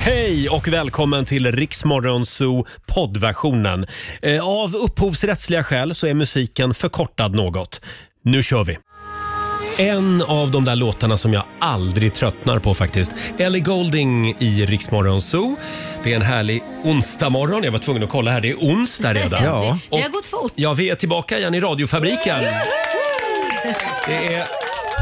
Hej och välkommen till Riksmorgonzoo poddversionen. Eh, Av upphovsrättsliga skäl så är musiken förkortad något. Nu kör vi! En av de där låtarna som jag aldrig tröttnar på faktiskt. Ellie Golding i Riksmorgonzoo. Det är en härlig onsdagmorgon. Jag var tvungen att kolla här. Det är onsdag redan. Ja. Och Det har gått fort. Ja, vi är tillbaka igen i radiofabriken. Det är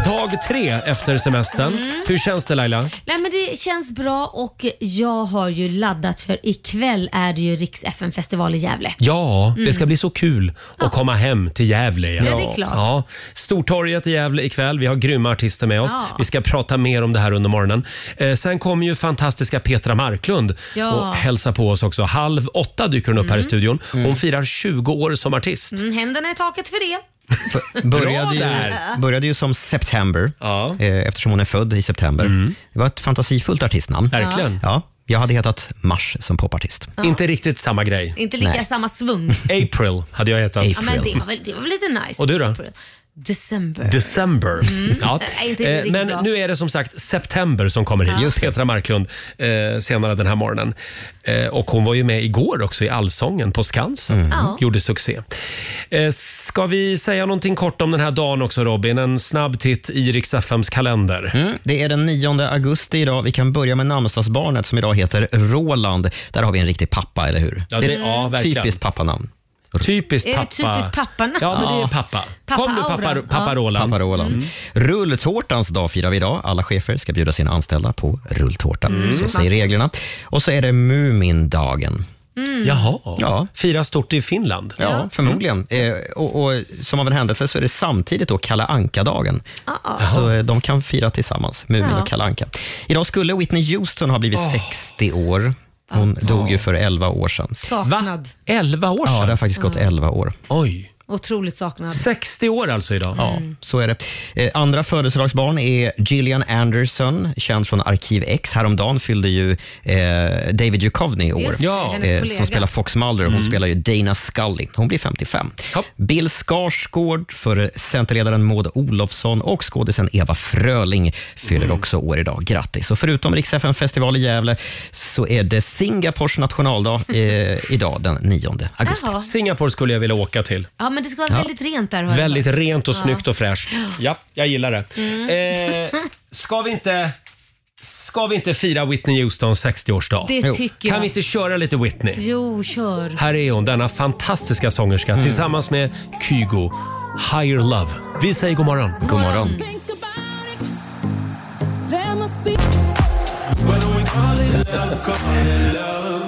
dag tre efter semestern. Hur känns det Laila? Nej, men det känns bra och jag har ju laddat för ikväll är det ju Riks FN-festival i Gävle. Ja, det ska bli så kul att komma hem till Gävle igen. Mm. Ja, det är klart. Ja. Stortorget i Gävle ikväll. Vi har grymma artister med oss. Ja. Vi ska prata mer om det här under morgonen. Eh, sen kommer ju fantastiska Petra Marklund Ja. och hälsa på oss också. Halv åtta dyker hon upp här i studion. Hon firar 20 år som artist. Mm, händerna i taket för det. Bra Började där. ju, började ju som September, Ja. Mm. eh, eftersom hon är född i september. Det var ett fantasifullt artistnamn. Verkligen. Ja, jag hade hetat Mars som popartist. Inte riktigt samma grej. Inte lika Nej. samma svung. April hade jag hetat. Ja, men det, var väl, det var väl lite nice. Och du då? December. Mm. December. Ja. Nej, inte riktigt Eh, Men bra. nu är det som sagt September som kommer hit. Just Petra Marklund eh, senare den här morgonen. Eh, och hon var ju med igår också i Allsången på Skansen. Mm. Mm. Ja. Gjorde succé. Eh, ska vi säga någonting kort om den här dagen också Robin? En snabb titt i Rix FMs kalender. Mm, det är den 9 augusti idag. Vi kan börja med namnsdagsbarnet som idag heter Roland. Där har vi en riktig pappa, eller hur? Ja, det- ja, verkligen. typiskt pappanamn. Typiskt Är det pappa. typiskt pappan? Ja, men det är pappa. Pappa Kom nu pappa, Auran. pappa Ja. Roland. Mm. Pappa Roland. Rulltårtans dag firar vi idag. Alla chefer ska bjuda sina anställda på rulltårta. Så säger reglerna. Och så är det Mumindagen. Mm. Jaha. Ja. Fira stort i Finland. Ja, förmodligen. Eh, och, och Som av en händelse så är det samtidigt då Kalle Anka-dagen. Så eh, de kan fira tillsammans, Mumin Ja. och Kalle Anka. Idag skulle Whitney Houston ha blivit 60 år. Hon dog ju för 11 år sedan. Va? Saknad. 11 år Ja, sedan? det har faktiskt gått 11 år. Oj. Otroligt saknad. 60 år alltså idag. Ja, Mm. så är det. Eh, andra födelsedagsbarn är Gillian Anderson, känd från Arkiv X. Häromdagen fyllde ju eh, David Duchovny år. Just det, Ja, Mm. hennes eh, kollega. som spelar Fox Mulder. Hon spelar ju Dana Scully. Hon blir 55. Ja. Bill Skarsgård, för Centerledaren Maud Olofsson och skådisen Eva Fröling fyller Mm. också år idag. Grattis! Och förutom riks festival i Gävle så är det Singapores nationaldag eh, idag den 9 augusti. Jaha. Singapore skulle jag vilja åka till. Ja, men det ska vara väldigt rent där. hör jag. Väldigt rent och snyggt och fräscht. Ja, jag gillar det. Mm. Eh, ska, vi inte, ska vi inte fira Whitney Houstons 60-årsdag? Det Jo. tycker Kan jag. vi inte köra lite Whitney? Jo, kör. Här är hon, denna fantastiska sångerska tillsammans med Kygo. Higher Love. Vi säger god morgon. God morgon!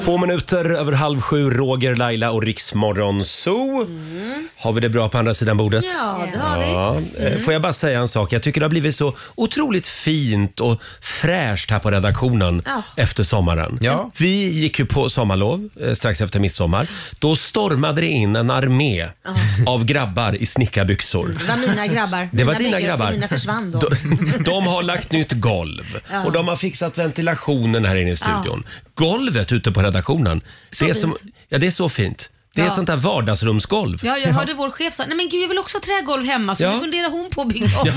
Två minuter över halv sju, Roger, Laila och Riksmorgon Zoo. Har vi det bra på andra sidan bordet? Ja, det har vi. Ja, eh, Får jag bara säga en sak? Jag tycker det har blivit så otroligt fint och fräscht här på redaktionen Ja. efter sommaren. Ja. Vi gick ju på sommarlov eh, strax efter midsommar. Då stormade det in en armé av grabbar i snickarbyxor. Det var mina grabbar. Det var dina Mina byggare, för grabbar. Mina försvann då. De, de har lagt nytt golv och de har fixat ventilationen här inne i studion. Golvet ute på redaktionen, det är, som, ja, det är så fint. Det är Ja. sånt där vardagsrumsgolv. Ja, jag hörde vår chef säga, nej men gud jag vill också ha trägolv hemma så Ja. nu funderar hon på att bygga om.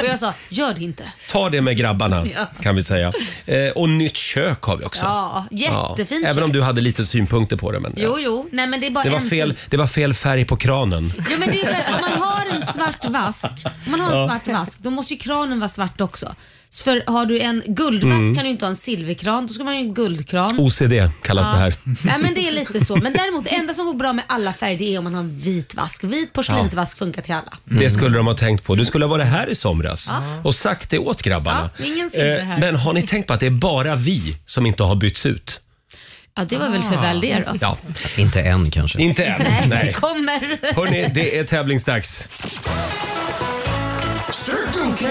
Och jag sa, gör det inte. Ta det med grabbarna Ja. kan vi säga. Eh, och nytt kök har vi också. Ja, jättefint Även kök. om du hade lite synpunkter på det. Men, ja. Jo, jo, nej men det är bara det, var en fel, sida. det var fel färg på kranen. Jo, men det är väl, om man har en svart vask, om man har en svart vask, då måste ju kranen vara svart också. Så För har du en guldvask Mm. kan du inte ha en silverkran, då ska man ha en guldkran. OCD kallas det här. Nej men det är lite så. Men däremot det enda som går bra med alla färger det är om man har en vit vask. Vit porslinsvask funkar till alla. Det skulle de ha tänkt på. Du skulle ha varit här i somras och sagt det åt grabbarna. Eh, Ja, ingen silver här. men har ni tänkt på att det är bara vi som inte har bytts ut? Ja det var väl Ah. för väl det då. Ja, Ah. Inte än kanske. inte än. Nej, det Nej. kommer. Hörni, det är tävlingsdags. Circle K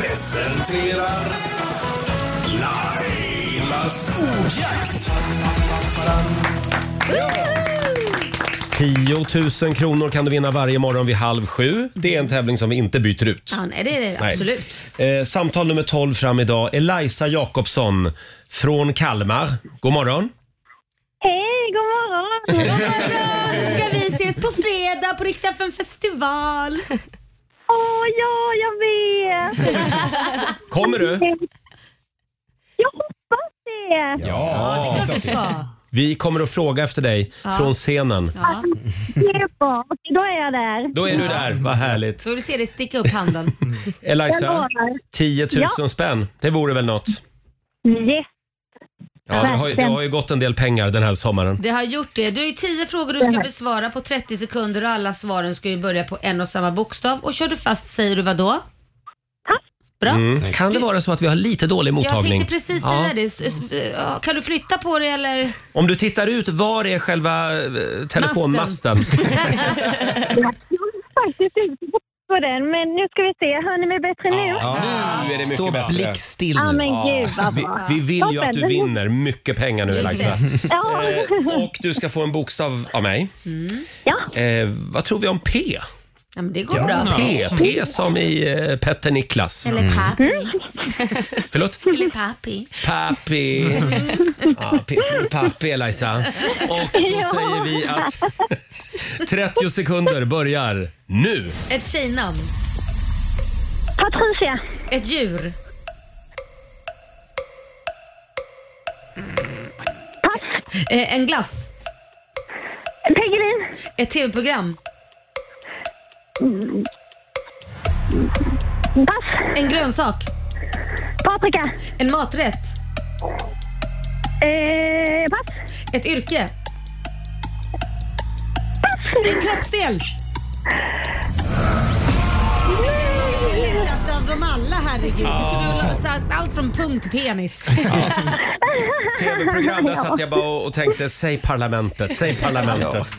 presenterar Lailas ordjakt. 10 000 kronor kan du vinna varje morgon vid halv sju. Det är en tävling som vi inte byter ut. Ja, nej, det är det Nej. absolut. Eh, samtal nummer 12 fram idag. Eliza Jakobsson från Kalmar. God morgon. Hej, god morgon! Ska vi ses på fredag på Riksdagen festival? Åh, ja, jag vet! Kommer du? Jag hoppas det! mycket. Ja, det är klart du ska. Vi kommer att fråga efter dig från scenen. Ja. Det är bra. Då är jag där. Då är du där, vad härligt. Så vill du se dig sticka upp handen. Jag Eliza, lovar. 10 000 spänn. Det vore väl något? Yes. Ja, det har, ju- det har ju gått en del pengar den här sommaren. Det har gjort det. Du har ju 10 frågor du ska besvara på 30 sekunder och alla svaren ska ju börja på en och samma bokstav. Och kör du fast säger du vad då? Bra. Mm. Kan det vara så att vi har lite dålig Jag mottagning? tänkte precis Ja. säga det. S- s- ja, Kan du flytta på det eller? Om du tittar ut, var är själva eh, telefonmasten? Jag var faktiskt ute på den, men nu ska vi se. Hör ni mig bättre nu? Ja, Nu är det mycket Stå bättre. blickstill ah, nu. men gud vad Vi, bra. vi vill ju att du Toppen. vinner mycket pengar nu Just det. Eliza. Ja, Eh, och du ska få en bokstav av mig. Ja. Eh, vad tror vi om P? Ja, men det går bra. P, P som i eh, Petter Niklas. Mm. Eller pappi. Mm. Förlåt? Eller pappi. Pappi. Ja, P som i pappi Eliza. Och då säger vi att 30 sekunder börjar nu. Ett tjejnamn. Patricia. Ett djur. Pass. Eh, En glass. Peggelin. Ett tv-program. Pass. En grönsak. Paprika. En maträtt. Eh, pass. Ett yrke. En kroppsdel. Det är lättaste av dem alla, herregud. Du kunde väl ha sagt allt från punkt till penis. Tv-program, där satt jag bara och, och tänkte säg parlamentet, säg parlamentet.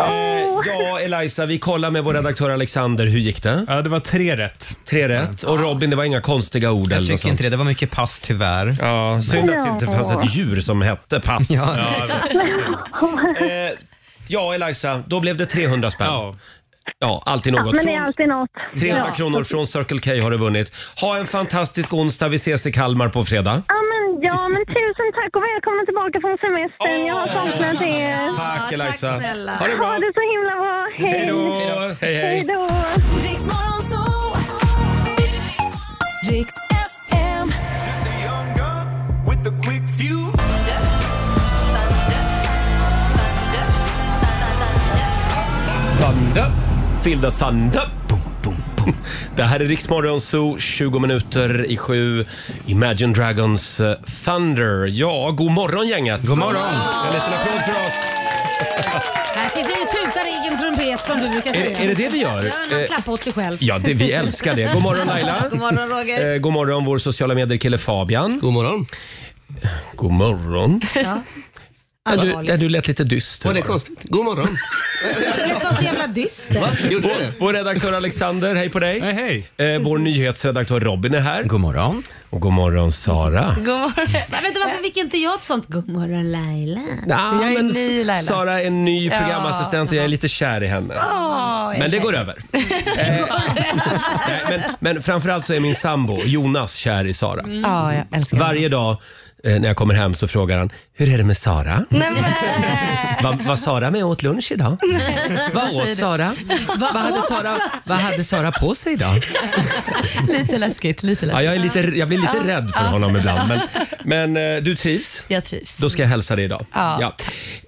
Eh, ja, Eliza, vi kollar med vår redaktör Alexander. Hur gick det? Ja, det var tre rätt. Tre rätt. Och Robin, det var inga konstiga ord Jag eller något tycker sånt. inte det. Det var mycket pass tyvärr. Ja, synd att det inte fanns ett djur som hette pass. Ja. Ja, eh, ja, Eliza, då blev det 300 spänn. Ja, Ja. alltid något. Men det är Från alltid något. alltså- 300 Ja. kronor från Circle K har du vunnit. Ha en fantastisk onsdag. Vi ses i Kalmar på fredag. Ja men, ja, men tusen tack och välkommen tillbaka från semestern. Jag har saknat er. Tack, tack Eliza. snälla. ha det bra. Ha det så himla bra. Hej då. Hej, Hej hej. då. Riks FM. Young gun with the quick fuse. Thunder. Feel the thunder. Boom, boom, boom. Det här är Riksmorgon Zoo, 20 minuter i sju. Imagine Dragons eh, Thunder. Ja, god morgon gänget! God morgon! En liten applåd för oss. Här sitter du och tutar i egen trumpet som du brukar säga. Är, är det det vi gör? Ja, någon Eh, klappar åt sig själv. Ja, det, vi älskar det. God morgon Laila! God morgon Roger. Eh, god morgon vår sociala medier-kille Fabian. God morgon. God morgon. Ja. Ja, du, Allvarligt. ja, du lät lite dyster. Var det bara. konstigt? God morgon. Det lät så jävla dyster. Va? Gjorde du det? Vår, vår redaktör Alexander, hej på dig! Nej, hej. Eh, vår nyhetsredaktör Robin är här. God morgon. Och god morgon Sara. Men Vänta, varför fick inte jag ett sånt God morgon Laila? Ja, Jag är men ny, Laila. Sara är en ny programassistent och jag är lite kär i henne. men det går över. Eh, nej, men, men framförallt så är min sambo Jonas kär i Sara. Mm. Ja, jag älskar det. Varje dag eh, när jag kommer hem så frågar han, hur är det med Sara? Nej, men, Va- Vad Sara med åt lunch idag? Vad åt Sara? Vad hade Sara, vad hade Sara på sig idag? lite läskigt, lite Ja, läskigt. jag, är lite, jag blir lite rädd för honom ibland. Men, men eh, du trivs? Jag trivs. Då ska jag hälsa dig idag. Ja.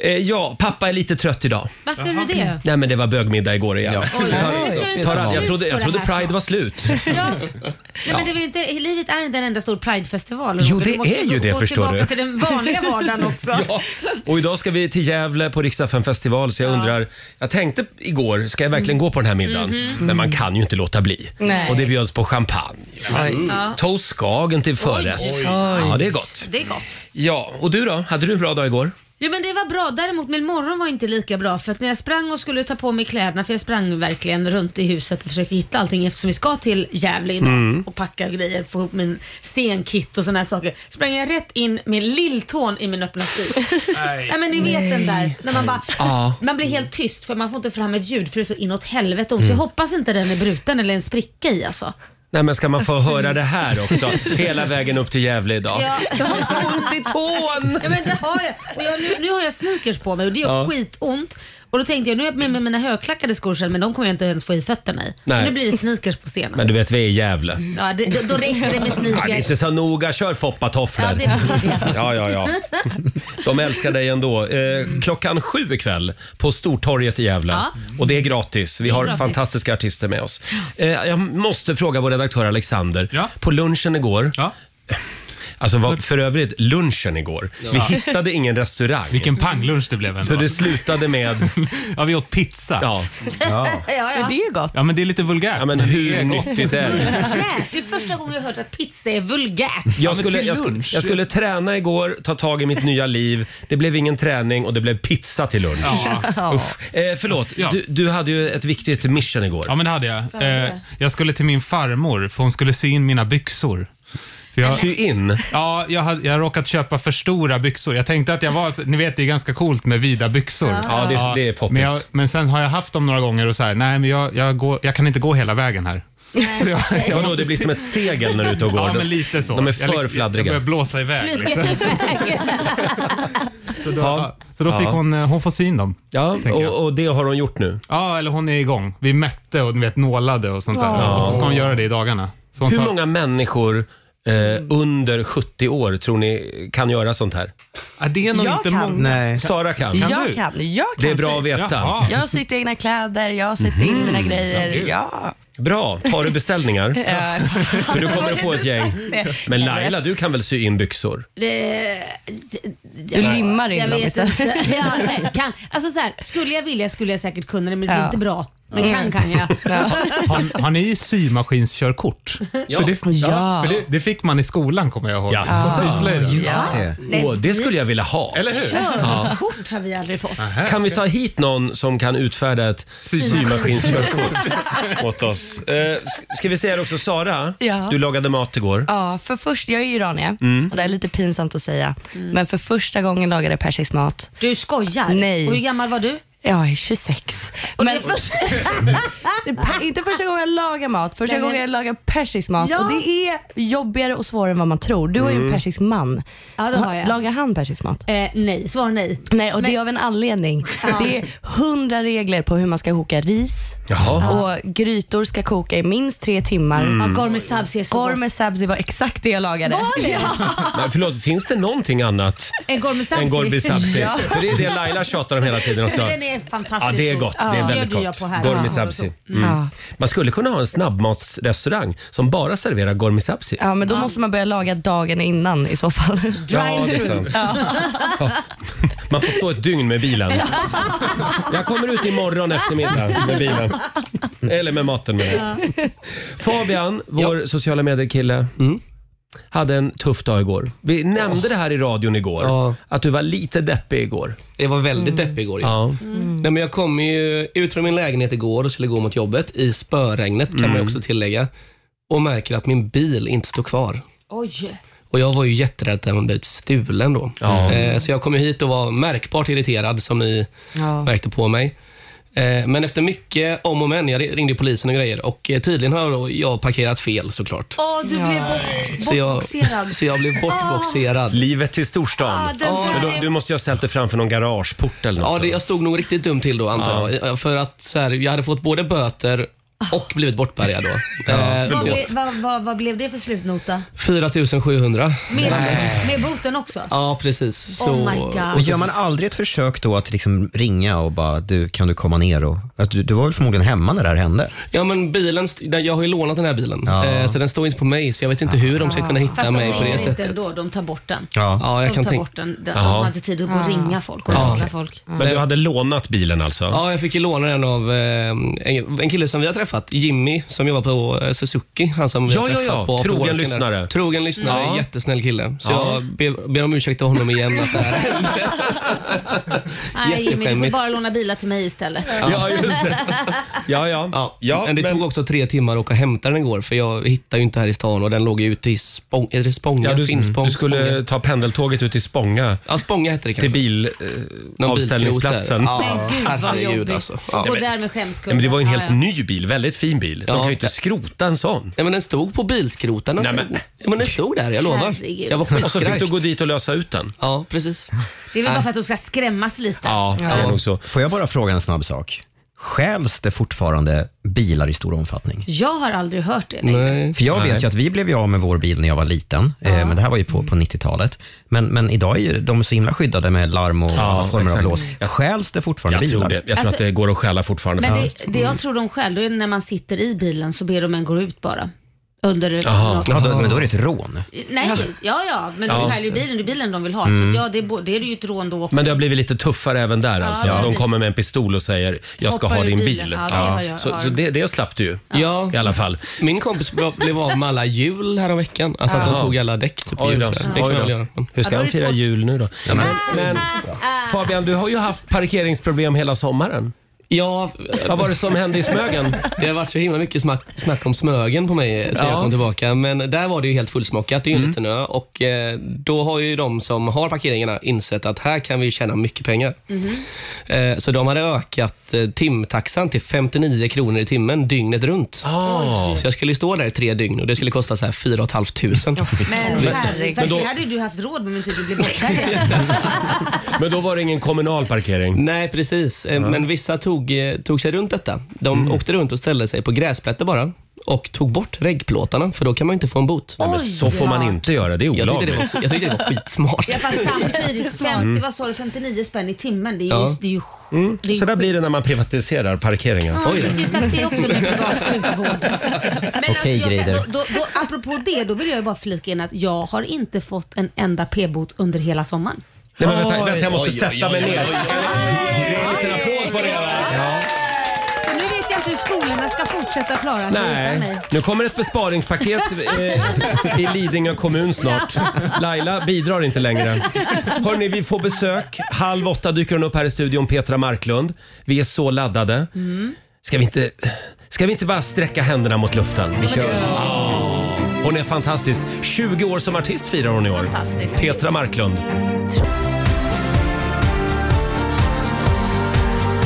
Eh, ja, pappa är lite trött idag. Varför är du Mm. det? Nej men det var bögmiddag igår igen. Oj, Det tar- nu ska det tar- ta slut jag trodde, på jag det trodde här Pride snart. var slut. Ja. Nej, men det är väl inte, livet är inte en enda stor pridefestival. Jo, Roger. det Du måste är ju gå- det, gå förstår tillbaka du. till den vanliga vardagen också. Ja. Och idag ska vi till Gävle på Riksdagen festival så jag undrar, jag tänkte igår, ska jag verkligen gå på den här middagen? Men man kan ju inte låta bli. Nej. Och det bjöds på champagne. Mm. Ja. Toast Skagen till förrätt. Ja, det är gott. Det är gott. Ja, och du då? Hade du en bra dag igår? Jo men det var bra, däremot min morgon var inte lika bra för att när jag sprang och skulle ta på mig kläderna, för jag sprang verkligen runt i huset och försökte hitta allting eftersom vi ska till Gävle idag och packa grejer, få ihop min scenkit och sådana här saker. Sprang jag rätt in med lilltån i min öppna spis. Nej men ni vet den där, när man bara, Ja. man blir helt tyst för man får inte fram ett ljud för det är så inåt helvete ont. Så jag hoppas inte den är bruten eller en spricka i alltså. Nej men ska man få höra det här också? Hela vägen upp till Gävle idag. Ja. Jag har så ont i tån! Ja men det har jag. Och jag, nu, nu har jag sneakers på mig och det gör skitont. Och då tänkte jag, nu är jag med, med mina högklackade skor sen, men de kommer jag inte ens få i fötterna i. Nej. Så nu blir det sneakers på scenen. Men du vet, vi är i Gävle. Ja, det, då, då räcker det med Ja, det är sneakers. inte så noga. Kör Ja, foppatofflor. det blir det. Ja, ja, ja. De älskar dig ändå. Eh, klockan sju ikväll på Stortorget i Gävle. Ja. Och det är gratis. Vi har gratis. fantastiska artister med oss. Eh, jag måste fråga vår redaktör Alexander. Ja. På lunchen igår, Ja. alltså vad, för övrigt lunchen igår. Vi hittade ingen restaurang. Vilken panglunch det blev ändå. Så det slutade med... Ja, vi åt pizza. Ja, Ja, ja. Det är ju gott. Ja, men det är lite vulgärt. ja men det hur är gott. nyttigt är det? Vulgärt. Det är första gången jag har hört att pizza är vulgärt. Jag men skulle, till jag, skulle, lunch. jag skulle träna igår, ta tag i mitt nya liv. Det blev ingen träning och det blev pizza till lunch. Usch. Eh, förlåt, Ja. du, du hade ju ett viktigt mission igår. Ja, men det hade jag. Eh, jag skulle till min farmor, för hon skulle sy in mina byxor. För jag, Sy in. ja, jag har jag har råkat köpa för stora byxor. Jag tänkte att jag var, ni vet det är ganska coolt med vida byxor. Ja, det är- det är poppis. Men, jag, men sen har jag haft dem några gånger och så här, nej men jag, jag, går, jag kan inte gå hela vägen här. Så jag, jag Vadå, måste det blir sy- som ett segel när du är ute och går. Ja, men lite så. De är Jag liksom- för Jag fladdriga. börjar blåsa iväg. Liksom. Så då, Ja. så då fick Ja. hon, eh, hon får syn dem. Ja, tänker jag. och, och det har hon gjort nu. Ja, eller hon är igång. Vi mätte och ni vet, nålade och sånt där. Och så ska hon göra det i dagarna. Så hon Hur sa- många människor eh, under 70 år tror ni kan göra sånt här? Ja, det är nog Jag inte kan. många. Nej. Sara kan. Ja. jag du? kan. Jag kan Det är bra sy. att veta. Jaha. Jag har sytt egna kläder, jag har sytt Mm. in mina grejer. Mm. gud. Ja. Bra, tar du beställningar? Eh, För du kommer att få ett gäng. Men Laila, du kan väl sy in byxor? Du limmar in jag dem vet istället. inte. Ja, nej, kan. Alltså så här, skulle jag vilja skulle jag säkert kunna det, men det är Ja. Mm. inte bra. Men kan kan jag. Har, har ni symaskinskörkort? Ja. För, det, Ja. för det, det fick man i skolan kommer jag ihåg. Jaså. På slöjden. Det. Åh, det skulle jag vilja ha. Eller hur? Kort har vi aldrig fått. Nähä. Kan vi ta hit någon som kan utfärda ett symaskinskörkort åt oss? Eh, s- ska vi säga det också, Sara, Ja. du lagade mat igår. Ja, för först, jag är ju iranier Mm. och det är lite pinsamt att säga, Mm. men för första gången lagade jag persisk mat. Du skojar? Nej. Och hur gammal var du? Ja, Jag är 26. Och Men det är först... det är per- inte första gången jag lagar mat, första Nej, men- gången jag lagar persisk mat. Ja. Och det är jobbigare och svårare än vad man tror. Du har ju Mm. en persisk man. Ja, det har jag. Lagar han persisk mat? eh, nej, svar nej. Nej, och det är av en anledning. Det är hundra regler på hur man ska koka ris Jaha. Mm. och grytor ska koka i minst tre timmar. Ja, Gourmet subs är så Korv gott. med sabzi var exakt det jag lagade. Var det? Men förlåt, finns det någonting annat En gourmet subs. än Gorbi Sabzi? Ja. För det är det Laila tjatar om hela tiden också. Den är fantastisk. Ja, det är gott. Det är god. väldigt bjöd jag gott. på här. Gormi Ja. Sabzi. Ja. Man skulle kunna ha en snabbmatsrestaurang som bara serverar Gormi Sabzi. Ja, men då måste man börja laga dagen innan i så fall. Ja, det är sant. Ja. Man får stå ett dygn med bilen. Jag kommer ut imorgon eftermiddag med bilen. Eller med maten med Fabian, vår sociala medier-kille, Mm. hade en tuff dag igår. Vi nämnde det här i radion igår, Ja. att du var lite deppig igår. Jag var väldigt deppig igår. ju. Ja. Nej, men jag kom ju ut från min lägenhet igår och skulle gå mot jobbet i spöregnet kan Mm. man ju också tillägga. Och märker att min bil inte står kvar. Oj. Och jag var ju jätterädd att den hade blivit stulen då. Ja. Eh, så jag kom ju hit och var märkbart irriterad som ni Ja. märkte på mig. Eh, men efter mycket om och men, jag ringde polisen och grejer och eh, tydligen har då jag parkerat fel såklart. Åh, du blev Så jag, bortboxerad. så jag blev bortboxerad. Livet till storstan. Ja, Ah. den där Men då, är- du måste ju ha ställt dig framför någon garageport eller något. Ja, det, jag stod nog riktigt dumt till då antar jag. För att så här, jag hade fått både böter och blivit bortbärgad då. Eh, Vad, så ble, vad, vad, vad blev det för slutnota? 4700. Med, med boten också? Ja, precis. Så, Oh my God. Och gör man aldrig ett försök då att liksom ringa och bara, du, kan du komma ner? Och, att du, du var väl förmodligen hemma när det här hände? Ja, men bilen, st- den- jag har ju lånat den här bilen, Ja. eh, så den står inte på mig. Så jag vet inte hur de ska kunna hitta Fast de mig på ringer det inte sättet. ändå, de tar bort den. Ja. Ja, jag de kan tar tänka. bort den. De de har inte tid att gå och ringa folk och ringa folk. Men du hade lånat bilen alltså? Ja, jag fick ju låna den av eh, en, en kille som vi har träffat, Jimmy, som jobbar på eh, Suzuki. Han som vi Ja, har ja, träffat ja. på After Trogen Work. lyssnare. Trogen lyssnare, Ja. jättesnäll kille. Så Ja. jag ber, ber om ursäkt till honom igen att det här hände. Nej, Jimmy, du får Jätteskämmigt. bara låna bilar till mig istället. Ja, just det. Ja, ja. Ja, ja men det tog också tre timmar att åka och hämta den igår för jag hittade ju inte här i stan och den låg ju ute i Spång, är det Spånga? Ja, du, Finspång, du skulle Spånga. ta pendeltåget ut till Spånga, Ja, Spånga hette det kanske. till bil, eh, Någon avställningsplatsen. bilskrot där. Men Ja, gud vad herregud jobbigt. alltså. Ja. Gå där med skämskudden. Ja, men det var ju en helt Ja, ja. ny bil, väldigt fin bil. Man Ja. kan ju inte skrota en sån. Nej, men den stod på bilskrotarna. Nej, Nej, men- men... Ja, men den stod där, jag lovar. Herregud. Jag var Och så fick du skitskrajt. gå dit och lösa ut den. Ja, precis. Det är väl Äh. bara för att de ska skrämmas lite. Ja, det är nog så. Får jag bara fråga en snabb sak? Stjäls det fortfarande bilar i stor omfattning? Jag har aldrig hört det. nej. Nej. För jag vet ju att vi blev ju av med vår bil när jag var liten, eh, men det här var ju på, Mm. på 90-talet. Men, men idag är ju de så himla skyddade med larm och alla former exakt. av lås. Stjäls det fortfarande Jag bilar? tror det. Jag tror Alltså- att det går att stjäla fortfarande. Ja. Men det, det jag tror de själv, då är det när man sitter i bilen så ber de en gå ut bara. Under... Jaha. Ja, då, men då är det ett rån. Nej, ja ja, men Ja. Mm. de stjäl ju bilen, det är bilen de vill ha. Så ja, det är, bo- det är ju ett rån då. Men det har blivit lite tuffare även där alltså. Ja, De precis. kommer med en pistol och säger jag ska Hoppar ha ur din bilen. bil. Ja, det har jag- Så, har- så det, det slapp du ju Ja, i alla fall. min kompis b- blev av med alla hjul häromveckan. Alltså att han tog alla däck. Typ, Oj jul, då. så här. det kan Oj då. man väl göra. Men- Hur ska Ja, då är han det fira svårt. jul nu då? men- Men Fabian, du har ju haft parkeringsproblem hela sommaren. Ja, Vad var det som hände i Smögen? det har varit så himla mycket smack, snack om Smögen på mig eh, sen Ja. Mm. jag kom tillbaka. Men där var det ju helt fullsmockat. Det är ju en liten ö och eh, då har ju de som har parkeringarna insett att här kan vi tjäna mycket pengar. Mm. Eh, Så de hade ökat eh, timtaxan till 59 kronor i timmen dygnet runt. Ah. Så jag skulle stå där i tre dygn och det skulle kosta så här 4 500. Men herregud, Men fast då- det hade ju du haft råd med om inte du blev bortare. Men då var det ingen kommunal parkering. Nej, precis. Eh, Men vissa tog, eh, tog sig runt detta. De Mm. åkte runt och ställde sig på gräsplätter bara och tog bort reggplåtarna, för då kan man inte få en bot. Nej, men Oj, så får man ja. inte göra, det är Jag tyckte det olagligt. var, jag tyckte det var skitsmart. Ja, fast samtidigt, Mm. 50, vad sa du, 59 spänn i timmen. Det är ju... Ja. Det är ju, det är ju Så där blir det när man privatiserar parkeringen. Ja, jag fick ju sagt det också med privat sjukvård. Men alltså, Okej, jag- Greider. då, då, då, apropå det, då vill jag ju bara flika in att jag har inte fått en enda p-bot under hela sommaren. Nej, men vänta, vänta, jag Oj, måste oj, sätta oj, mig oj, ner. oj, oj, En liten applåd på det va? Så nu vet jag inte hur skolorna ska fortsätta klara sig utan Nej, mig. nu kommer ett besparingspaket eh, i Lidingö kommun snart. Laila bidrar inte längre. Hörni, vi får besök. Halv åtta dyker hon upp här i studion, Petra Marklund. Vi är så laddade. Mm. Ska vi inte, ska vi inte bara sträcka händerna mot luften? Vi kör. Ah. Hon är fantastisk. 20 år som artist firar hon i år. Fantastiskt. Petra Marklund.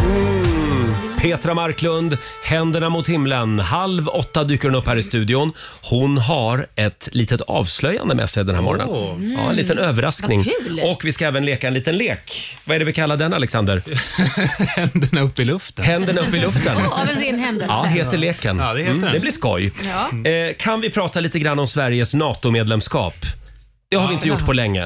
Mm. Petra Marklund, Händerna mot himlen. Halv åtta dyker hon upp här i studion. Hon har ett litet avslöjande med sig den här morgonen. Ja, en liten överraskning. Mm. Vad kul. Och vi ska även leka en liten lek. Vad är det vi kallar den, Alexander? Händerna upp i luften. Händerna upp i luften. Och Av en ren händelse. Ja, heter leken. Mm. Ja, det heter den. det blir skoj. Ja. Eh, kan vi prata lite grann om Sveriges NATO-medlemskap? Det har vi inte gjort på länge.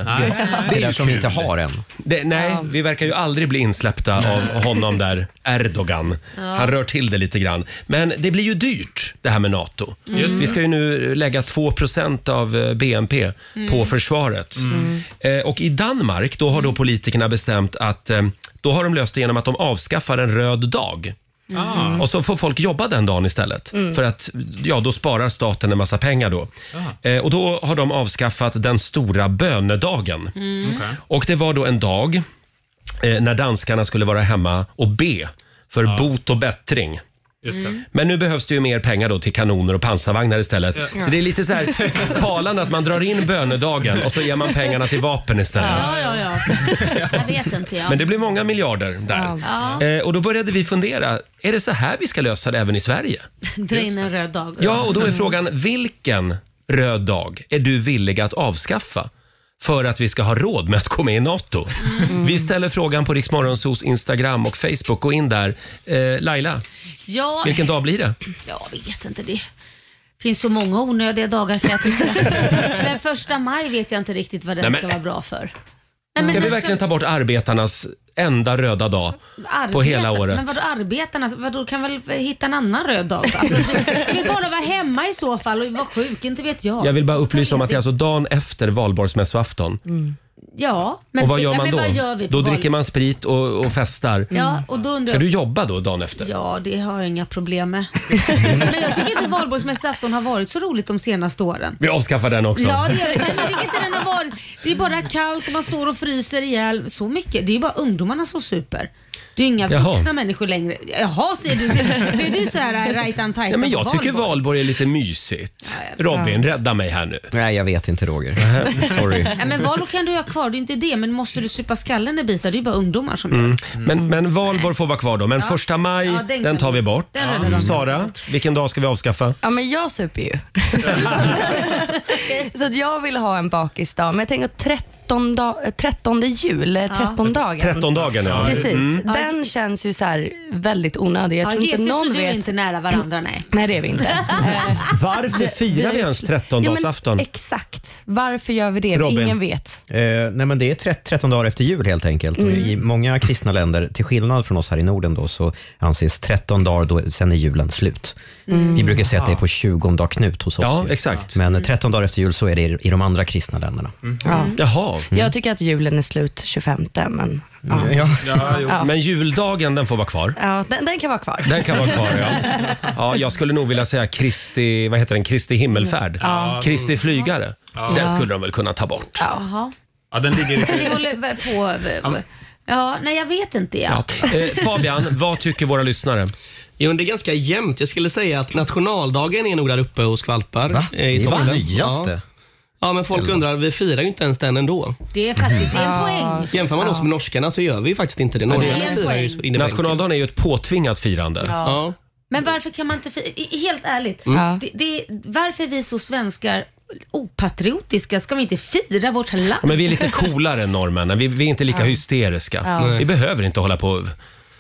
Det är där som vi inte har än. Det, nej, vi verkar ju aldrig bli insläppta av honom där, Erdogan. Han rör till det lite grann. Men det blir ju dyrt det här med NATO. Vi ska ju nu lägga 2 av eh, BNP på försvaret. Eh, och i Danmark, då har då politikerna bestämt att eh, då har de löst det genom att de avskaffar en röd dag. Ah. Och så får folk jobba den dagen istället. Mm. För att ja, då sparar staten en massa pengar då. Eh, och då har de avskaffat den stora bönedagen. Mm. Okej. Och det var då en dag eh, när danskarna skulle vara hemma och be för bot och bättring. Just det. Men nu behövs det ju mer pengar då till kanoner och pansarvagnar istället. Så det är lite så här talande att man drar in bönedagen och så ger man pengarna till vapen istället. Ja, ja, ja. Jag vet inte jag. Men det blir många miljarder där. Ja, Eh, och då började vi fundera, är det så här vi ska lösa det även i Sverige? dra in en röd dag. Mm. Ja, och då är frågan vilken röd dag är du villig att avskaffa? för att vi ska ha råd med att gå med i NATO. Mm. Vi ställer frågan på Riksmorgonsos Instagram och Facebook. Gå in där. Eh, Laila, Ja, vilken dag blir det? jag vet inte det. finns så många onödiga dagar kan jag tycka. Men första maj vet jag inte riktigt vad den Nej, men- ska vara bra för. Nej, men Ska vi den verkligen ta bort arbetarnas enda röda dag? Arbeta- På hela året. Men vadå arbetarna? Vadå, kan väl hitta en annan röd dag? då? Alltså, du vill bara vara hemma i så fall och vara sjuk, inte vet jag. Jag vill bara upplysa om att det är alltså dagen efter valborgsmässoafton. Ja, Mm. men, Och vad gör ja, man men då? Vad gör vi på Då val- dricker man sprit och, och festar. Ja, och då undrar Ska du jag... jobba då dagen efter? Ja, det har jag inga problem med. men jag tycker inte valborgsmässoafton har varit så roligt de senaste åren. Vi avskaffar den också. Ja, det gör det. Men jag tycker inte den har varit... Det är bara kallt och man står och fryser ihjäl. Så mycket. Det är ju bara ungdomarna som super. Det är ju inga Jaha. vuxna människor längre. Jaha, säger du. Blir du så här äh, right on tight Ja, men på jag tycker valborg är lite mysigt. Robin, rädda mig här nu. Nej, jag vet inte Roger. Sorry. Ja, men Valo kan du ha kvar. kvar, det är inte det. Men måste du supa skallen i bitar, det är ju bara ungdomar som Mm. gör det. Men, men valborg får vara kvar då. Men Ja. första maj, Ja, den, den tar kan- vi bort. Mm. den räddar de. Sara, vilken dag ska vi avskaffa? Ja, men jag super ju. så att jag vill ha en bakisdag, men jag tänker 13, dag, eh, 13 jul, eh, 13 dagen. 13 dagen ja. Mm. Precis. Ja, Den känns ju så här väldigt onödig. Jag Ja, tror inte Jesus och någon du är vet. inte nära varandra, nej. Nej, det är vi inte. Varför firar vi ens Ja, men 13-dagsafton? Exakt. Varför gör vi det? Robin. Ingen vet. Eh, nej men det är 30, 13 dagar efter jul helt enkelt. Mm. Och I många kristna länder, till skillnad från oss här i Norden, då, så anses 13 dagar, då, sen är julen slut. Mm. Vi brukar säga att det är på 20 dag Knut hos oss. Ja, ju. exakt. Mm. Men eh, 13 dagar efter jul så är det i, i de andra kristna länderna. Ja. Jaha. Jag tycker att julen är slut 25, men ja. Ja. Men juldagen den får vara kvar. Ja, den, den kan vara kvar. Den kan vara kvar ja. ja. Jag skulle nog vilja säga Kristi, vad heter den? Kristi himmelfärd. Kristi flygare. Den skulle de väl kunna ta bort. Jaha. Ja, den ligger Vi lite... håller väl på... Ja, nej jag vet inte jag. Ja. Eh, Fabian, vad tycker våra lyssnare? Jo, men det är ganska jämnt. Jag skulle säga att nationaldagen är nog där uppe och skvalpar. Va? eh, i Det var toppen. det nyaste. Ja. ja, men folk undrar, vi firar ju inte ens den ändå. Det är faktiskt det är en poäng. Jämför man oss med norskarna så gör vi ju faktiskt inte det. Norrmännen en firar ju poäng. så in i bänken. Nationaldagen är ju ett påtvingat firande. Ja. Men varför kan man inte fi- i- i- Helt ärligt, det, det, varför är vi så svenskar opatriotiska? Ska vi inte fira vårt land? Ja, Men vi är lite coolare än norrmännen. Vi, vi är inte lika hysteriska. Vi behöver inte hålla på.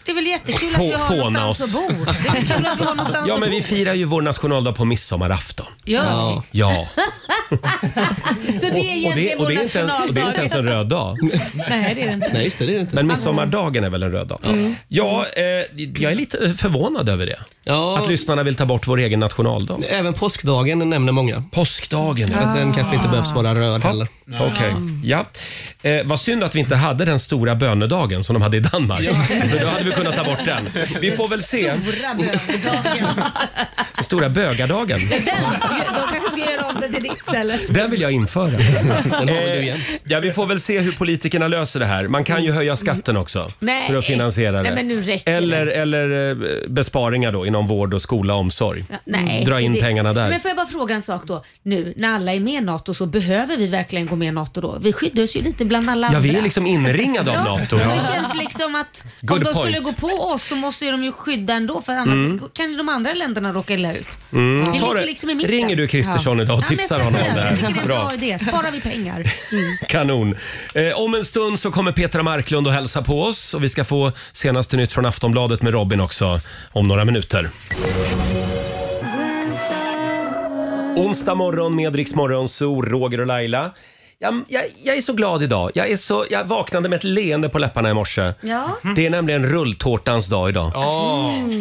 Det är väl jättekul att vi har Fåna någonstans oss. att bo? Det är väl kul att vi har någonstans Ja, att men bo? vi firar ju vår nationaldag på midsommarafton. Ja. Ja. Ja, Så det är och det, egentligen och, vår det är inte en, och det är inte nationaldag. ens en röd dag. Nej, det är det inte. Nej, just det. Det är det inte. Mm. Men midsommardagen är väl en röd dag? Ja, eh, jag är lite eh, förvånad över det. Ja, Att lyssnarna vill ta bort vår egen nationaldag. även påskdagen nämner många. Påskdagen, ja. Att Den kanske inte behövs vara röd heller. Okej. Ja. Eh, vad synd att vi inte hade den stora bönedagen som de hade i Danmark. För då hade vi kunnat ta bort den. Vi får väl se. Stora bögdagen. Stora bögardagen. Den, de kanske ska göra om det till det istället. Den vill jag införa. Den har väl du Eh, igen. ja, vi får väl se hur politikerna löser det här. Man kan ju höja skatten också Nej. för att finansiera det. Nej, men nu räcker det. eller, eller eh, besparingar då inom vård och skola och omsorg. Ja, Nej, Dra in det- pengarna där. Men får jag bara fråga en sak då? Nu när alla är med i NATO så behöver vi verkligen gå med i NATO då? Vi skyddar oss ju lite bland alla Ja, andra. vi är liksom inringade av Ja, NATO. så Det känns liksom att Good om de point. Mm. skulle gå på oss så måste ju de ju skydda ändå för annars kan ju de andra länderna råka illa ut. Vi Ta ligger det. liksom i mitten. Ringer du Kristersson idag och Ja, men tipsar jag honom ska om det säga Jag tycker det är här? en bra Bra, Mm. idé. Sparar vi pengar. kanon. Eh, om en stund så kommer Petra Marklund och hälsa på oss och vi ska få senaste nytt från Aftonbladet med Robin också om några minuter. Onsdag morgon med Rix Morgon, så Roger och Laila. Jag, jag, jag är så glad idag. Jag, är så, jag vaknade med ett leende på läpparna i morse. Ja, Det är nämligen rulltårtans dag idag.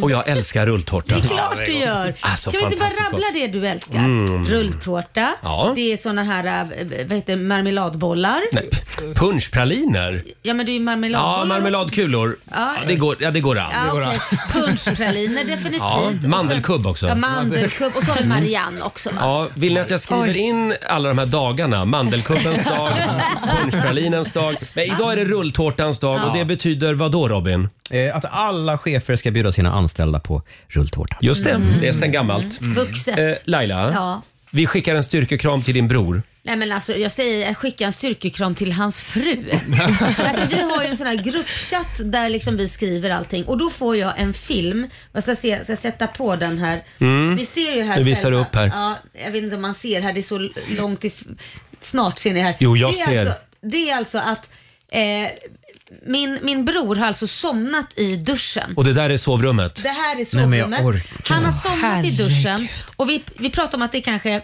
Och jag älskar rulltårta. det är klart du gör. Alltså, kan vi inte bara fantastiskt rabbla gott. Mm. det du älskar? Rulltårta, Ja. det är såna här äh, vad heter, det, marmeladbollar. Nej, p- punschpraliner. Ja men det är ju marmeladbollar. Ja, marmeladkulor. Ja. Det, går, ja, det går an. Ja, okej. Punschpraliner definitivt. Ja, Och sen- mandelkubb också. Ja, mandelkubb och så har vi Marianne också. Va? Ja, vill ni att jag skriver in alla de här dagarna? Mandelkubbens dag, punschpralinens dag. Men idag är det rulltårtans dag och det betyder vad då Robin? Eh, att alla chefer ska bjuda sina anställda på rulltårta. Just det, det är sen gammalt. Mm. Vuxet. Eh, Laila, Ja. vi skickar en styrkekram till din bror. Nej men alltså jag säger skicka en styrkekram till hans fru. Därför vi har ju en sån här gruppchatt där liksom vi skriver allting och då får jag en film. Jag ska, se, ska jag sätta på den här. Vi ser ju här Nu Mm. visar själva- du upp här. Ja, jag vet inte om man ser här, det är så långt if- Snart ser ni här. Jo, jag det är ser. Alltså, det är alltså att eh, min, min bror har alltså somnat i duschen. Och det där är sovrummet. Det här är Nej, men jag sovrummet. orkar. Han har somnat i Herregud. duschen och vi, vi pratar om att det är kanske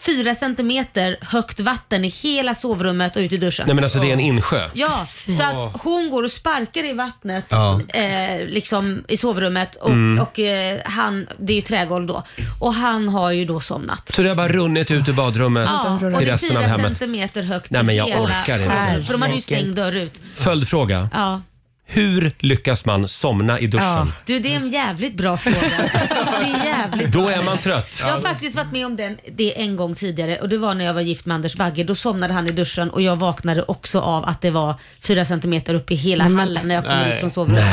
fyra centimeter högt vatten i hela sovrummet och ut i duschen. Nej men alltså det är en insjö. Ja, så att hon går och sparkar i vattnet Ja. eh, liksom i sovrummet och, Mm. och eh, han, det är ju trägolv då, och han har ju då somnat. Så det har bara runnit ut ur badrummet Ja, och till det är resten av fyra hemmet. centimeter högt Nej, men i jag hela orkar inte. sovrummet, För de hade ju stängd dörr ut. Följdfråga. Ja. Hur lyckas man somna i duschen? Ja. Du, det är en jävligt bra fråga. Det är jävligt Då är man trött. Jag har faktiskt varit med om den, det en gång tidigare och det var när jag var gift med Anders Bagge. Då somnade han i duschen och jag vaknade Mm. också av att det var fyra centimeter upp i hela hallen när jag kom ut från sovrummet.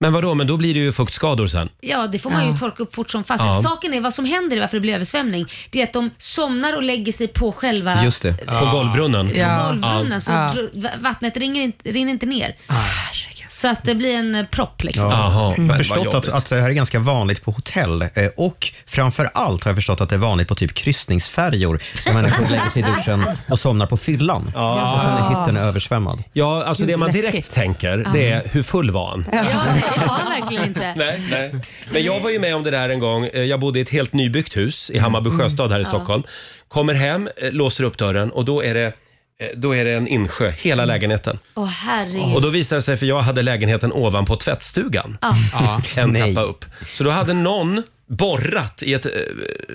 Men vadå, men då blir det ju fuktskador sen. Ja, det får man ju torka upp fort som fasen. Ja. Saken är vad som händer, varför det blir översvämning, det är att de somnar och lägger sig på själva Just det. På golvbrunnen. Ja. golvbrunnen så Ja. dr- vattnet ringer inte, rinner inte ner. Så att det blir en eh, propp Mm. liksom. Jaha, Jag men har vad förstått att, jobbigt. att det här är ganska vanligt på hotell eh, och framför allt har jag förstått att det är vanligt på typ kryssningsfärjor där människor lägger sig i duschen och somnar på fyllan och sen är hytten översvämmad. Ja, alltså det man Läskigt. direkt tänker det är hur full var han? Ja, nej, det var verkligen inte. Nej, nej. Men jag var ju med om det där en gång. Eh, Jag bodde i ett helt nybyggt hus Mm. i Hammarby sjöstad här i Stockholm. Kommer hem, eh, låser upp dörren och då är det, eh, då är det en insjö, hela Mm. lägenheten. Åh herregud. Och då visade det sig, för jag hade lägenheten ovanpå tvättstugan, Ja. Ja. en Nej. trappa upp. Så då hade någon borrat i ett eh,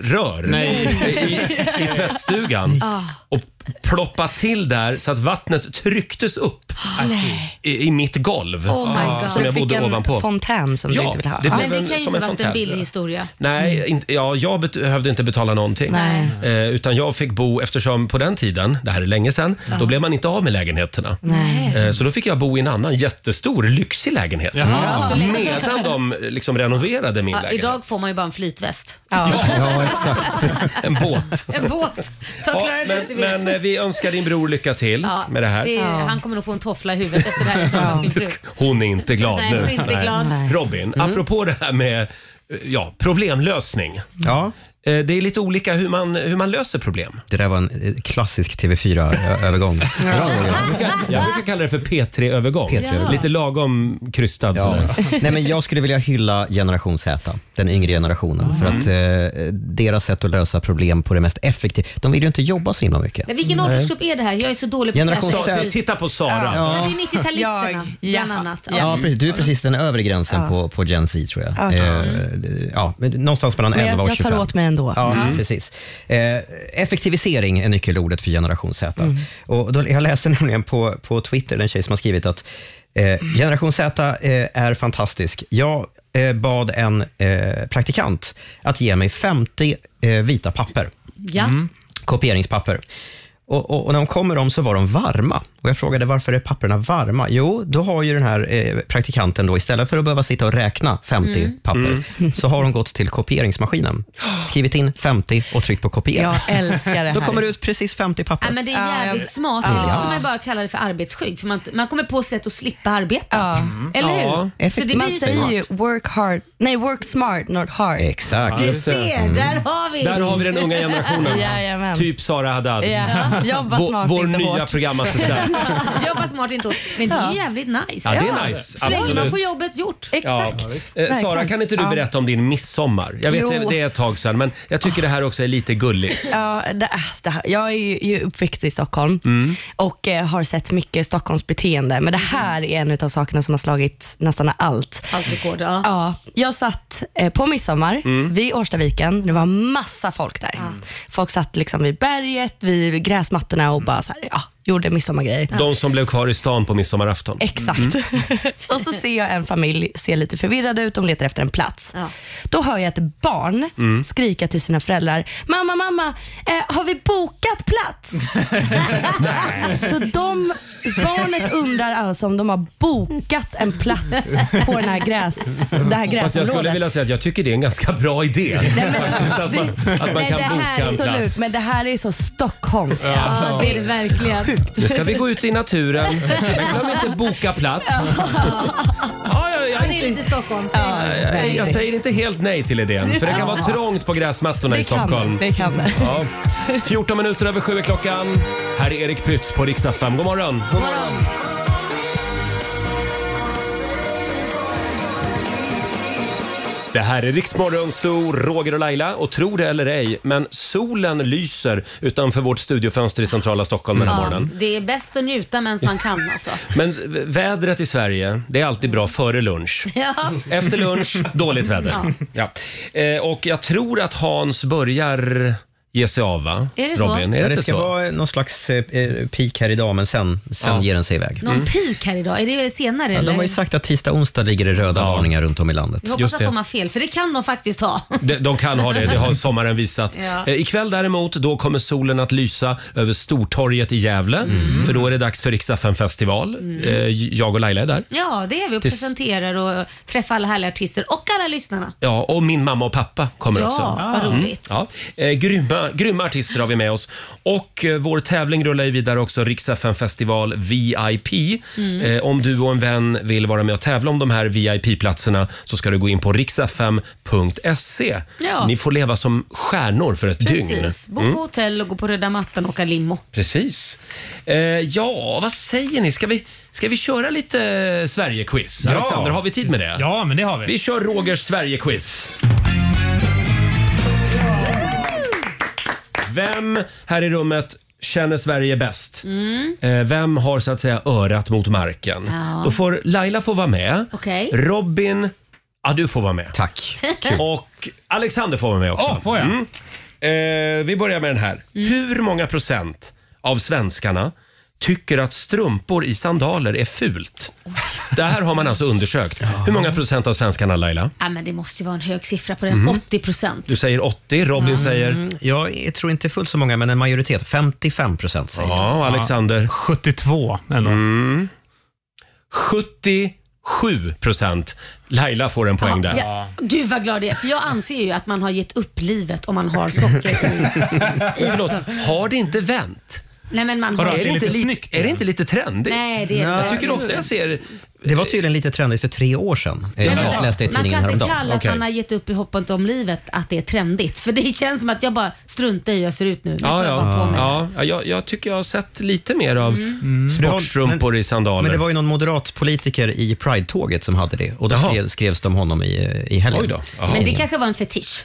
rör Nej. i, i tvättstugan och ploppat till där så att vattnet trycktes upp i, i mitt golv. Oh my Så god. Som du jag fick bodde en ovanpå. fontän som Ja, du inte vill ha? det Ja. Men blev en- det kan ju som inte en varit en fontän. billig historia. Nej, Mm. inte, ja, jag bet- behövde inte betala någonting. Nej. Eh, utan jag fick bo, eftersom på den tiden, det här är länge sedan, då blev man inte av med lägenheterna. Nej. Eh, så då fick jag bo i en annan jättestor, lyxig lägenhet. Jaha. Medan de eh, liksom renoverade min Ja, lägenhet. idag får man ju bara en flytväst. Ja. Ja, exakt. En båt. En båt. Ja, Ta Clara men, Lustig med. men eh, vi önskar din bror lycka till Ja, med det här. är- Han kommer nog få en toffla i huvudet efter det här. Ja. Sin Det fru. sk- Hon är inte glad Nej, nu. hon är inte glad. Nej. Robin, Mm. apropå det här med eh, ja, problemlösning. Ja. Eh, Det är lite olika hur man, hur man löser problem. Det där var en eh, klassisk Mm. TV4-övergång. Jag brukar kalla det för P3-övergång. P3-övergång. Lite lagom krystad. sådär. Nej, men jag skulle vilja hylla generation Z, den yngre generationen, för att eh, deras sätt att lösa problem på det mest effektiva. De vill ju inte jobba så himla mycket. Men vilken åldersgrupp är det här? Jag är så dålig på Generation Så, svenska. så, titta på Sara. Ja, det är 90-talisterna Jag. bland Ja. annat. Ja. Ja, precis. Du är precis den övre gränsen på, på Gen Z tror jag. Eh, ja, men någonstans mellan Men 11 jag, och jag 25. tar åt mig ändå. Mm. Ja, precis. Eh, effektivisering är nyckelordet för generation Z. Mm. Och då, jag läser nämligen på, på Twitter, den tjej som har skrivit att eh, generation Z eh, är fantastisk. Jag eh, bad en eh, praktikant att ge mig 50 eh, vita papper Ja. Mm. kopieringspapper. Och, och, och när de kommer om så var de varma. Och jag frågade varför är papperna varma? Jo, då har ju den här eh, praktikanten då istället för att behöva sitta och räkna 50 Mm. papper, Mm. så har hon gått till kopieringsmaskinen, skrivit in 50 och tryckt på kopiera. Jag älskar det här. Då kommer det ut precis 50 papper. Nej, men det är Ja, jävligt jag- smart. Ja. Eller så kommer man bara kalla det för arbetsskydd. För man, man kommer på sätt att slippa arbeta. Ja. Eller Ja. hur? Så det Effektivt. blir Man ju säger så. ju work hard, nej work smart not hard. Exakt. Du Just det. ser, där har vi. Där har vi den unga generationen. Jajamän. Typ Sara Haddad. Ja, jobba Vår, smart, vår inte nya hårt. programassistent. Jobba smart inte hårt. Men det är ju jävligt nice. Ja, det Ja. är nice. Så länge man Absolut. får jobbet gjort. Ja. Exakt. Eh, Sara, Verkligen. kan inte du Ja. berätta om din midsommar? Jag vet Jo. det- det är ett tag sedan, men jag tycker det här också är lite gulligt. Ja, det, äh, det här, jag är ju, ju uppväxt i Stockholm och eh, har sett mycket Stockholms beteende, men det här är en av sakerna som har slagit nästan allt. Allt rekord. Ja. Ja, jag satt eh, på midsommar vid Årstaviken. Det var massa folk där. Mm. Folk satt liksom vid berget, vid gräsmattorna och bara så här, ja, gjorde midsommargrejer. De som blev kvar i stan på midsommarafton. Mm. Exakt. och så ser jag en familj ser lite förvirrad ut, de letar efter en plats. Ja. Då hör jag ett barn skrika till sina föräldrar, mamma, mamma, eh, har vi bokat plats? så de, barnet undrar alltså om de har bokat en plats på den här gräs, det här Mm. Fast jag skulle gräsområdet. vilja säga att jag tycker det är en ganska bra idé. Faktiskt, att man, att man Nej, det kan här boka en Absolut, plats. men det här är så stockholmskt. Ja, det är det verkligen. Nu ska vi gå ut i naturen, men glöm inte boka plats. Ja, jag, jag, är Det är inte, lite Stockholm. jag, jag säger inte helt nej till idén, för det kan vara trångt på gräsmattorna i Det kan Stockholm. det. Kan det. Ja. 14 minuter över sju är klockan. Här är Erik Prytz på riksdag 5. God morgon! God morgon! Det här är Riksmorgon Zoo, Roger och Laila. Och tro det eller ej, men solen lyser utanför vårt studiofönster i centrala Stockholm den här Ja, morgonen. det är bäst att njuta medan man kan alltså. Men v- vädret i Sverige, det är alltid bra före lunch. Ja. Efter lunch, dåligt väder. Ja. Eh, och jag tror att Hans börjar ge sig av, va? Är det så? Robin, är det, Ja, det inte ska så? vara någon slags eh, eh, peak här idag, men sen, sen Ja. Mm. ger den sig iväg. Någon peak här idag? Är det senare Ja, eller? de har ju sagt att tisdag, onsdag ligger det röda Ja. varningar runt om i landet. Vi hoppas Just att det. de har fel, för det kan de faktiskt ha. De, de kan ha det, det har sommaren visat. Ja. Eh, Ikväll däremot, då kommer solen att lysa över Stortorget i Gävle. Mm. För då är det dags för Riksaffen festival. Eh, Jag och Laila är där. Ja, det är vi och Tills- presenterar och träffar alla härliga artister och alla lyssnarna. Ja, och min mamma och pappa kommer Ja, också. vad roligt. Ja. Eh, grymma, grymma artister har vi med oss. Och eh, vår tävling rullar ju vidare också, Rix FM festival VIP. Mm. Eh, om du och en vän vill vara med och tävla om de här VIP-platserna så ska du gå in på riksfm.se. Ja. Ni får leva som stjärnor för ett dygn. Mm. Precis. Bo på hotell och gå på röda mattan och åka limo. Precis. Eh, ja, vad säger ni? Ska vi, ska vi köra lite eh, Sverige-quiz? Ja. Alexander, har vi tid med det? Ja, men det har Vi vi. kör Rogers Sverige-quiz. Vem här i rummet känner Sverige bäst? Eh, Vem har så att säga örat mot marken? Ja. Då får Laila får vara med. Okej. Robin, ja du får vara med. Tack. Och Alexander får vara med också. Mm. Ja, får jag? Eh, vi börjar med den här. Mm. Hur många procent av svenskarna tycker att strumpor i sandaler är fult? Det här har man alltså undersökt. Hur många procent av svenskarna, Laila? Ja, men det måste ju vara en hög siffra på den. Mhm. 80 procent. Du säger 80, Mm. Robin säger... Jag tror inte fullt så många, men en majoritet. 55 procent säger jag. Ja, och Alexander. 72 ändå. Mm. 77 procent. Laila får en poäng där. Ja, du vad glad det är, för jag anser ju att man har gett upp livet om man har socker i- i. Förlåt, alltså, har det inte vänt? Nej men man Vadå, har Är det, är inte lite li- snyggt, är det ja. inte lite trendigt? Nej det är Nej, det. Jag tycker ofta jag ser... Det var tydligen lite trendigt för tre år sedan. Eh, Men Jag vadå? läste i man tidningen kan inte häromdagen. kalla att Okej. man har gett upp i hoppet om livet att det är trendigt. För det känns som att jag bara struntar i hur jag ser ut nu. Jag Ja, tar bara på Mm. ja. mig. ja ja, jag, jag tycker jag har sett lite mer av Mm. sportstrumpor i sandaler. Men det var ju någon moderat politiker i Pride-tåget som hade det och då Jaha. skrev, skrevs det om honom i, eh, i helgen. Oj då. Jaha. Men det kanske var en fetisch.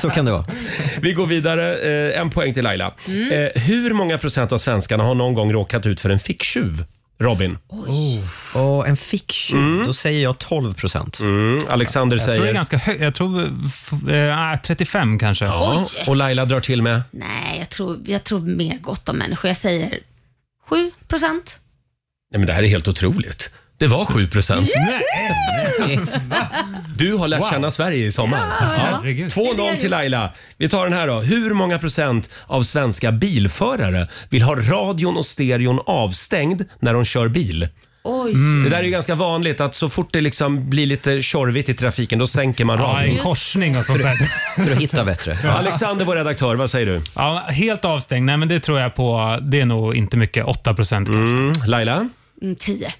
Så kan det vara. Vi går vidare. Eh, en poäng till Laila. Mm. Eh, hur många procent av svenskarna har någon gång råkat ut för en ficktjuv? Robin. Oh. Och en ficktjuv, då säger jag 12 procent. Mm, Alexander Jag tror det är säger... ganska högt. Jag tror f- eh, 35 kanske. Ja, och Laila drar till med... Nej, jag tror, jag tror mer gott om människor. Jag säger 7 procent. Nej, men det här är helt otroligt. Det var 7 procent. Mm, Du har lärt Wow. känna Sverige i sommar. Herregud. 2-0 till Laila. Vi tar den här då. Hur många procent av svenska bilförare vill ha radion och stereon avstängd när de kör bil? Oj. Mm. Det där är ju Mm. ganska vanligt att så fort det liksom blir lite tjorvigt i trafiken då sänker man Ja, en radion. korsning och sånt där. För att hitta bättre. Alexander, vår redaktör, vad säger du? Ja, helt avstängd. Nej, men det tror jag på. Det är nog inte mycket. 8 procent kanske. Mm, Laila? Mm, 10.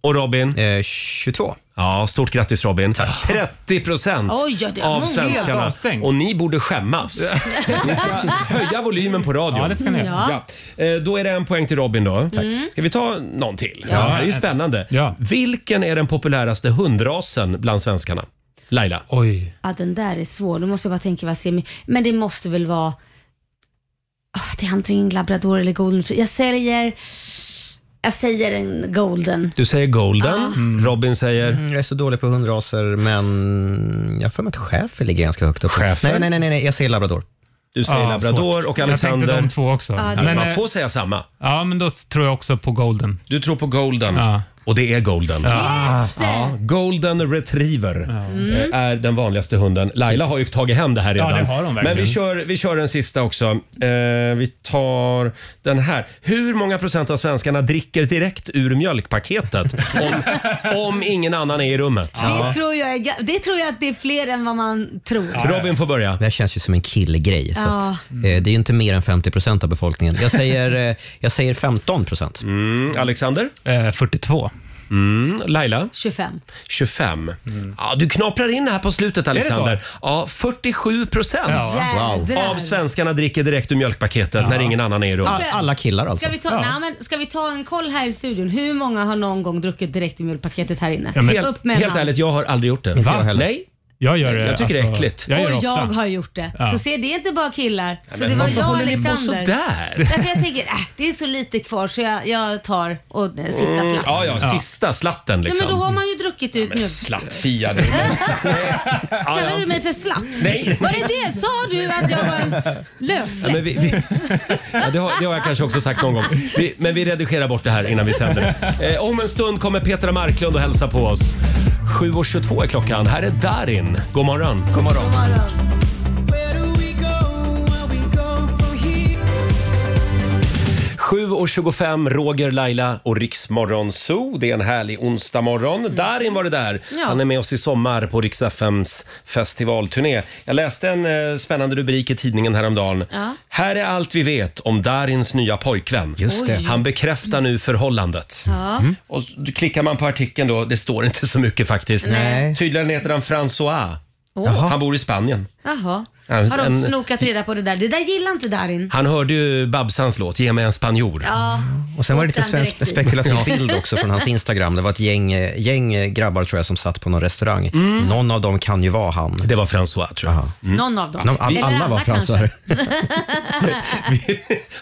Och Robin? Eh, 22. Ja, stort grattis Robin. 30 procent Oj, ja, det är av många. Helt svenskarna. avstängd. Och ni borde skämmas. ni ska höja volymen på radion. Ja, det ska ni göra. Ja. Ja. Eh, Då är det en poäng till Robin då. Mm. Ska vi ta någon till? Ja. Det här är ju spännande. Ja. Vilken är den populäraste hundrasen bland svenskarna? Laila? Oj. ja, den där är svår. Då måste jag bara tänka vad jag ser. mig- Men det måste väl vara... Ah, det är antingen labrador eller golden. Jag säger... Jag säger en golden. Du säger golden. Robin säger? Mm, Jag är så dålig på hundraser, men jag har för mig att schäfer ligger ganska högt upp. Schäfer? Nej, nej, nej, nej, nej, jag säger labrador. Du säger Ja, labrador Ah, svårt. och Jag Alexander? tänkte de två också. det- Men men, man eh, får säga samma. Ja, men då tror jag också på golden. Du tror på golden Ja. och det är golden. Yes! Ja, Golden Retriever eh, är den vanligaste hunden. Laila har ju tagit hem det här redan. Ja, det har hon verkligen. Men vi kör, vi kör den sista också. Eh, vi tar den här. Hur många procent av svenskarna dricker direkt ur mjölkpaketet om, om ingen annan är i rummet? Det, tror jag är, ga- det tror jag att det är fler än vad man tror. Robin får börja. Det här känns ju som en killgrej. Så Ja. att, eh, det är ju inte mer än 50 procent av befolkningen. Jag säger, eh, jag säger 15 procent. Mm, Alexander? Eh, 42. Mm, Laila? 25. 25. Ja, du knaprar in det här på slutet Alexander. så? Ja, 47 procent. Ja. Jädrar. Av svenskarna dricker direkt ur mjölkpaketet när ingen annan är i rummet. Alla killar alltså. Ska vi, ta, nej, men ska vi ta en koll här i studion? Hur många har någon gång druckit direkt i mjölkpaketet här inne? Helt, Upp med en helt hand. ärligt, jag har aldrig gjort det. jag heller. Nej, Jag gör det. alltså. Jag tycker det är äckligt. Jag gör det och ofta. jag har gjort det. Ja. Så se, det är inte bara killar. Så Men det var varför jag och håller ni på Alexander. sådär? Därför jag tänker, äh, det är så lite kvar så jag, jag tar och den sista slatten. Mm. Ja, ja, sista slatten ja, liksom. men då har man ju druckit ut nu. Slattfia du. Ja, Kallar ja. du mig för slatt? Nej. Var det det? Sa du att jag var en Ja, lössläppt? men vi, vi, ja, det, har, det har jag kanske också sagt någon gång. Vi, men vi redigerar bort det här innan vi sänder det. Eh, om en stund kommer Petra Marklund och hälsa på oss. 7.22 är klockan. Här är Darin. God morgon. God morgon. Where do we go? Where we go from here? 7.25, Roger, Laila och Riksmorgon Zoo. Det är en härlig onsdagmorgon. Darin var det där. Ja. Han är med oss i sommar på Rix FMs festivalturné. Jag läste en eh, spännande rubrik i tidningen häromdagen. Ja. Här är allt vi vet om Darins nya pojkvän. Just det. Han bekräftar nu förhållandet. Ja. Och så klickar man på artikeln då, det står inte så mycket faktiskt. Nej. Tydligen heter han François. Åh. Han bor i Spanien. Jaha. Ja, Har de en- snokat reda på det där? Det där gillar inte Darin. Han hörde ju Babsans låt Ge mig en spanjor. Ja. Och sen var det lite Åkte han svensk direkt dit? spekulativ bild också från hans Instagram. Det var ett gäng, eh, gäng eh, grabbar tror jag som satt på någon restaurang. Någon av dem kan ju vara han. Mm. Det var François tror jag. Mm. Aha. Någon av dem. Någon- all- Eller alla var fransar. kanske.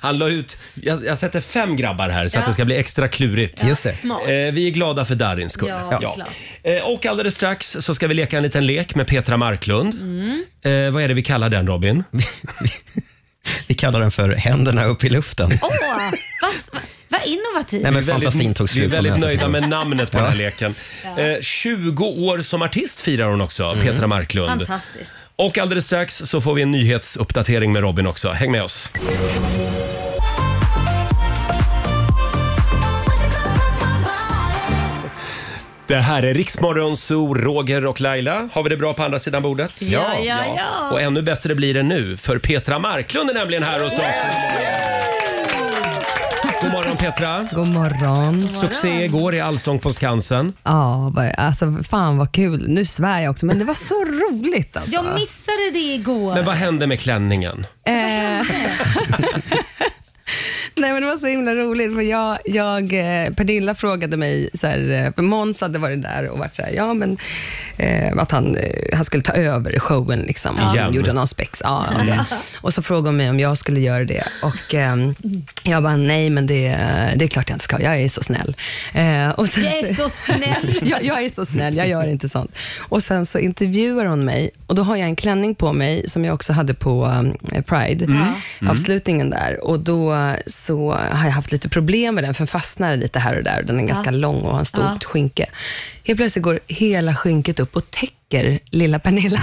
Han la ut, jag, jag sätter fem grabbar här så att Ja. det ska bli extra klurigt. Just det. Smart. Eh, vi är glada för Darins skull. Ja, klart. Eh, och alldeles strax så ska vi leka en liten lek med Petra Marklund. Mm. Eh, vad är det vi kallar den Robin? Vi kallar den för händerna upp i luften. Åh, vad, vad innovativt. Nej, men Vi är väldigt- fantasin tog slut Vi är på väldigt mötet. nöjda med namnet på den här leken. Eh, 20 år som artist firar hon också, Petra Marklund. Fantastiskt. Och alldeles strax så får vi en nyhetsuppdatering med Robin också. Häng med oss. Det här är Riksmorgon Zoo, Roger och Laila. Har vi det bra på andra sidan bordet? Ja, ja, ja. Och ännu bättre blir det nu, för Petra Marklund är nämligen här hos oss. God morgon Petra! God morgon. Succé igår i Allsång på Skansen. Ja, vad- alltså, fan vad kul. Nu svär jag också, men det var så roligt. Alltså. Jag missade det igår. Men vad hände med klänningen? Eh, Nej men det var så himla roligt för jag, jag eh, Pernilla frågade mig, så här, eh, för Måns hade varit där och varit så här, ja men eh, att han, eh, han skulle ta över showen liksom. Igen. Han gjorde någon spex. Ja, ja, det. Och så frågade hon mig om jag skulle göra det och ehm, jag bara, nej men det, det är klart jag inte ska, jag är så snäll. Eh, och sen, Jag är så snäll. jag, jag är så snäll, jag gör inte sånt. Och sen så intervjuar hon mig och då har jag en klänning på mig som jag också hade på um, Pride, Mm. avslutningen där. Och då eh, så har jag haft lite problem med den, för den fastnar lite här och där. Den är ganska lång och har en stort skynke. Helt plötsligt går hela skynket upp och täcker lilla Pernilla.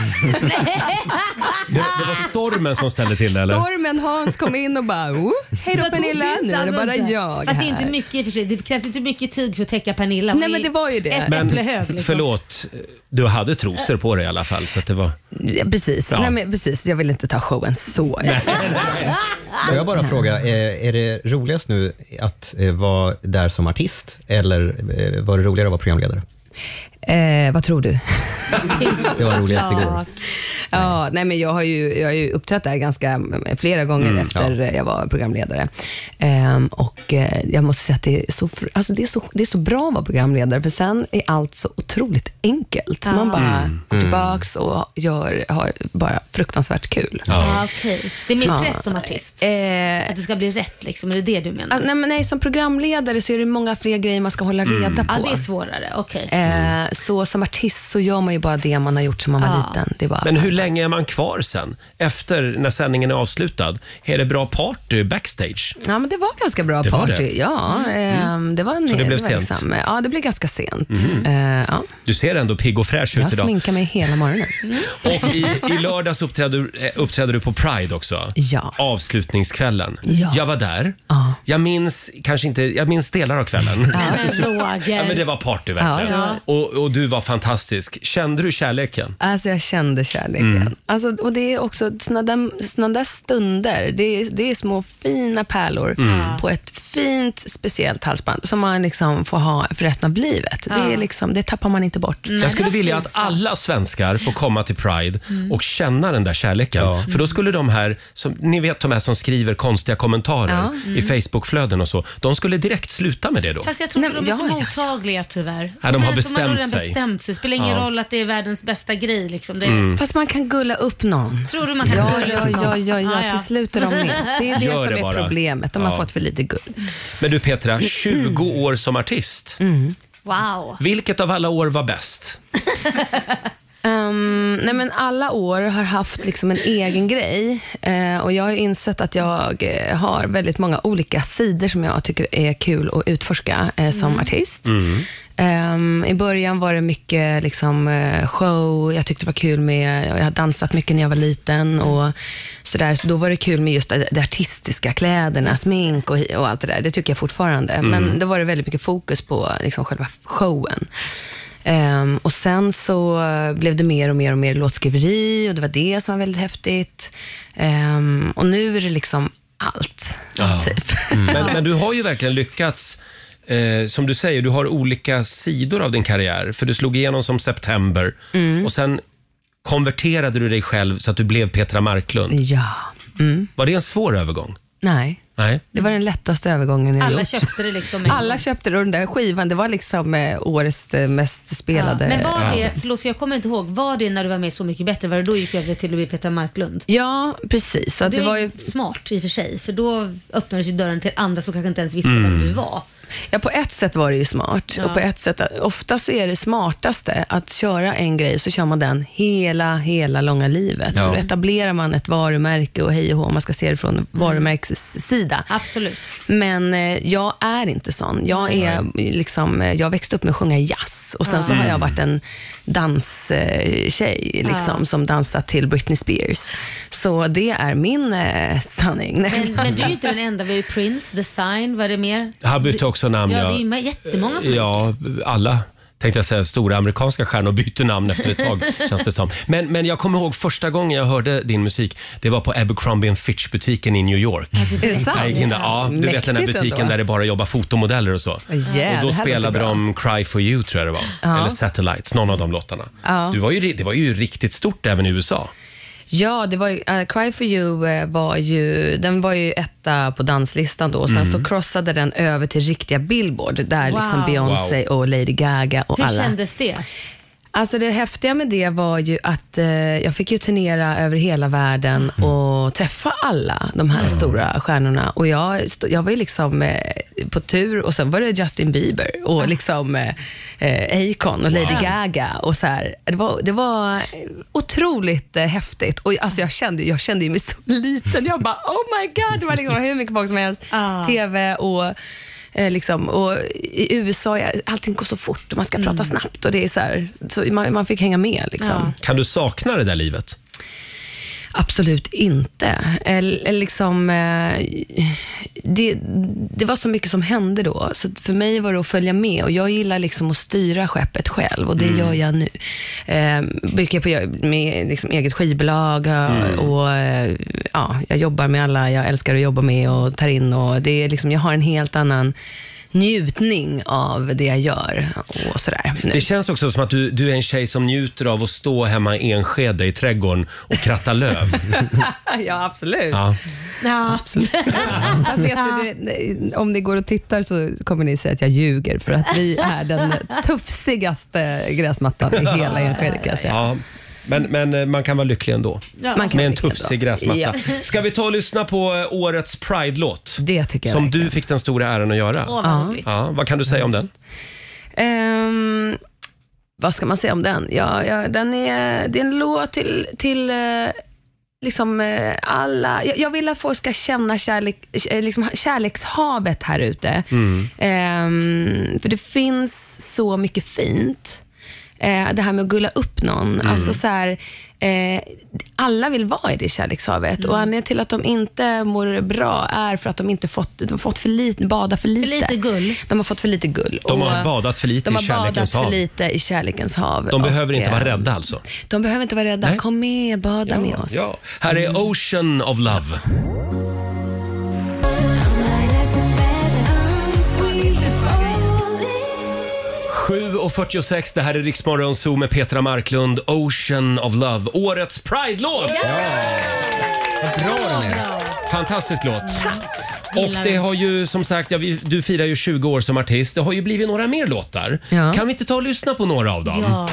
Det, det var stormen som ställde till det eller? Stormen Hans kom in och bara, oh, hej Så då att hon Pernilla, finns nu är det alltså bara inte. jag Fast det, är här. inte mycket, i och för sig. det krävs inte mycket tyg för att täcka Pernilla. Hon Nej, är men det var ju det. Ett Men äpple hög. Liksom. förlåt, du hade trosor på dig i alla fall så att det var... Ja, precis. Ja. Nej, men, precis, jag vill inte ta showen så. Får jag bara fråga, eh, är det roligast nu att eh, vara där som artist eller eh, var det roligare att vara programledare? Eh, vad tror du? Det var roligast igår. Klart. Ja, nej men jag har ju, jag har ju uppträtt där ganska m- flera gånger Mm, efter eh, jag var programledare. Ehm, och eh, jag måste säga att det är, så, fr- alltså det, är så, det är så bra att vara programledare, för sen är allt så otroligt enkelt. Man bara Mm. går tillbaks och gör, har bara fruktansvärt kul. Ja, okej. Det är mer Ja. press som artist. Eh, Att det ska bli rätt liksom, är det det du menar? att- nej, men nej, som programledare så är det många fler grejer man ska hålla reda Mm. på. Ja, det är svårare. Okej. Eh, så som artist så gör man ju bara det man har gjort som man var Ja. liten. Det är bara, Men hur länge är man kvar sen? Efter när sändningen är avslutad? Är det bra party backstage? Ja, men det var ganska bra Det var party. det. Mm. Ja, ehm, det var en, Så det blev var sent? Mhm. liksom- ja, det blev ganska sent. Eh, ja. Du ser ändå pigg och fräsch ut Jag idag. sminkar mig hela morgonen. Och i, i lördags uppträdde, du- eh, uppträdde du på Pride också. Ja. Avslutningskvällen. Ja. Jag var där. Ja. Jag minns kanske inte, jag minns delar av kvällen. Nej, men Roger. Ja, men det var party verkligen. Ja. Och, och du var fantastisk. Kände du kärleken? Alltså jag kände kärleken. Mm. Alltså, och det är också såna där, såna där stunder, det är, det är små fina pärlor Mm. på ett fint speciellt halsband som man liksom får ha för resten av livet. Det, är liksom, det tappar man inte bort. jag skulle vilja att alla svenskar får komma till Pride Mm. och känna den där kärleken. För då skulle de här, som, ni vet de här som skriver konstiga kommentarer i Facebookflöden och så, de skulle direkt sluta med det då. Mm. Fast jag tror inte Nej, de är men så ja, ja, mottagliga tyvärr. har Men De bestämt har redan sig. bestämt sig. Det spelar ingen Ja. roll att det är världens bästa grej. Liksom. Det, Mm. Fast man kan gulla upp någon. Tror du man kan ja, gulla ja, upp någon? ja, ja, ja, Ja, ja. till slut är de med. Det är det Gör som det är bara. problemet. De Ja. har fått för lite gull. Men du Petra, 20 år som artist. Mm. Wow. Vilket av alla år var bäst? Ehm, nej men alla år har haft liksom en egen grej eh, och jag har insett att jag eh, har väldigt många olika sidor som jag tycker är kul att utforska eh, som artist. Mm. Ehm, I början var det mycket liksom, eh, show, jag tyckte det var kul med, jag har dansat mycket när jag var liten och sådär, så då var det kul med just det, det artistiska, kläderna, smink och, hi- och allt det där. Det tycker jag fortfarande, men då var det väldigt mycket fokus på liksom, själva showen. Ehm, och sen så eh, blev det mer och mer och mer låtskriveri och det var det som var väldigt häftigt. Ehm, och nu är det liksom allt, typ. Men, men du har ju verkligen lyckats. Eh, som du säger, du har olika sidor av din karriär. För du slog igenom som September Mm. och sen konverterade du dig själv så att du blev Petra Marklund. Ja. Mm. Var det en svår övergång? Nej, Nej. det var den lättaste övergången jag Alla gjort. köpte det liksom. en Alla gång. köpte det och den där skivan, det var liksom eh, årets eh, mest Ja. spelade. Men var det, förlåt för jag kommer inte ihåg, var det när du var med Så mycket bättre? Var det då gick jag över till att bli Petra Marklund? Ja, precis. Så att det, det är var ju smart i och för sig, för då öppnades ju dörren till andra som kanske inte ens visste vem du var. Ja, på ett sätt var det ju smart. Ja. Och på ett sätt, ofta så är det smartaste att köra en grej, så kör man den hela, hela långa livet. Ja. För då etablerar man ett varumärke och hej och hå, om man ska se det från varumärkessida. Mm. Absolut. Men eh, jag är inte sån. Jag, är, liksom, eh, jag växte upp med att sjunga jazz och sen så har jag varit en danstjej liksom, som dansat till Britney Spears. Så det är min eh, sanning. Men, men du är ju inte den enda. Vi har ju Prince, The Sign, vad är det mer? Han bytte också namn. Ja, det är ju med- jättemånga som Ja, alla tänkte jag säga, stora amerikanska stjärnor byter namn efter ett tag, känns det som. Men, men jag kommer ihåg första gången jag hörde din musik, det var på Abercrombie Fitch-butiken i New York. Är det sant? Jag gick in där, ja, du vet den här Mäktigt butiken ändå. där det bara jobbar fotomodeller och så. Yeah, och då det här spelade låter bra. de Cry for you, tror jag det var. Ja. Eller Satellites, någon av de låtarna. Ja. Du var ju, ri- det var ju riktigt stort även i USA. Ja, det var, ju- eh, Cry for you eh, var ju, den var ju etta på danslistan då. Och sen så crossade den över till riktiga Billboard, där Wow. liksom Beyoncé och Lady Gaga och Hur alla. kändes det? Alltså det häftiga med det var ju att eh, jag fick ju turnera över hela världen och träffa alla de här stora stjärnorna. Och jag, st- jag var ju liksom eh, på tur och sen var det Justin Bieber och liksom eh, eh, Akon och Lady Gaga. Och så här. Det, var, det var otroligt eh, häftigt. Och alltså jag, kände, jag kände ju mig så liten. Jag bara oh my god, det var liksom hur mycket folk som helst. Ah. TV och Eh, liksom, och I USA är allting går så fort och man ska prata snabbt. Och det är så här, så man, man fick hänga med. Liksom. Ja. Kan du sakna det där livet? Absolut inte. Eller, liksom, eh, det, det var så mycket som hände då, så att för mig var det att följa med. Och Jag gillar liksom att styra skeppet själv och det gör jag nu. Eh, mycket på med liksom eget skivbolag eh, och eh, ja, jag jobbar med alla jag älskar att jobba med och tar in. Och det är liksom, jag har en helt annan njutning av det jag gör och sådär. Nu. Det känns också som att du, du är en tjej som njuter av att stå hemma i Enskede i trädgården och kratta löv. ja, absolut. Ja. Ja. Fast vet du, det, om ni går och tittar så kommer ni säga att jag ljuger, för att vi är den tufsigaste gräsmattan i hela Enskede kan jag säga. Ja. Men, men eh, man kan vara lycklig ändå. Ja. Man kan Med en lyckas tufsig då. gräsmatta. Ja, Ska vi ta och lyssna på eh, årets Pride-låt? det tycker jag. Som verkligen. du fick den stora äran att göra. Åh, vad roligt. Ja, vad kan du säga om den? Ehm, vad ska man säga om den? Ja, ja, den är, det är en låt till, till eh, liksom eh, alla. Jag, jag vill att folk ska känna kärlek, eh, liksom, kärlekshavet här ute. Ehm, för det finns så mycket fint. Eh, det här med att gulla upp någon. Mm. Alltså så här, eh, alla vill vara i det kärlekshavet och Mm. anledningen till att de inte mår bra är för att de inte fått, de har fått för lite, bada för lite. lite gull. De har fått för lite gull. De har Och- badat för lite de i har badat kärlekens hav. för lite i kärlekens hav. De behöver Och, inte vara eh, rädda alltså. De behöver inte vara rädda. Nej. Kom med, bada med oss. Mm. Ja. Här är Ocean of Love. Falling 7.46, det här är Riksmorgon Zoo med Petra Marklund. Ocean of Love, årets Pride-låt! Vad bra den är. Fantastisk låt. Och Gillar det det. har ju som sagt, ja, vi, du firar ju 20 år som artist. Det har ju blivit några mer låtar. Ja. Kan vi inte ta och lyssna på några av dem? Ja.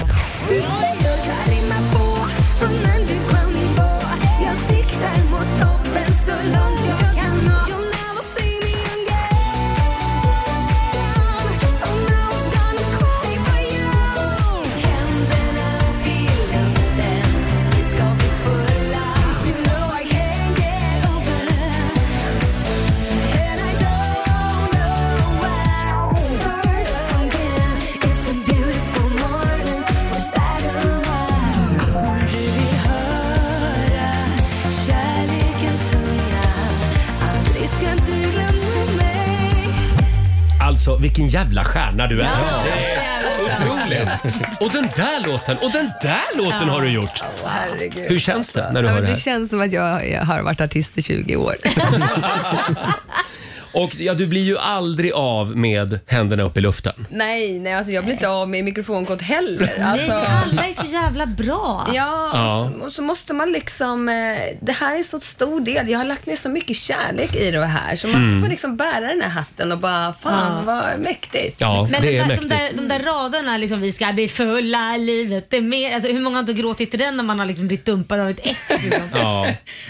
Alltså, vilken jävla stjärna du är. Ja, Det är Otroligt! Och den där låten, och den där låten Ja. har du gjort! Åh, herregud. Hur känns det när du Ja, hör men det det här? känns som att jag jag har varit artist i 20 år. Och ja, du blir ju aldrig av med händerna upp i luften. nej, nej alltså jag blir inte av med mikrofonkort heller. Nej, Alltså, alla är så jävla bra. Ja, Ja. Och, så, och så måste man liksom... eh, Det här är så stor del. Jag har lagt ner så mycket kärlek i det här. Så man ska Mm. få liksom bära den här hatten och bara, fan vad mäktigt. Ja, liksom. Men de, där, de, där, de där raderna, liksom, vi ska bli fulla i livet, det är mer, alltså, hur många har inte gråtit till den när man har liksom blivit dumpad av ett ex? Liksom? Ja.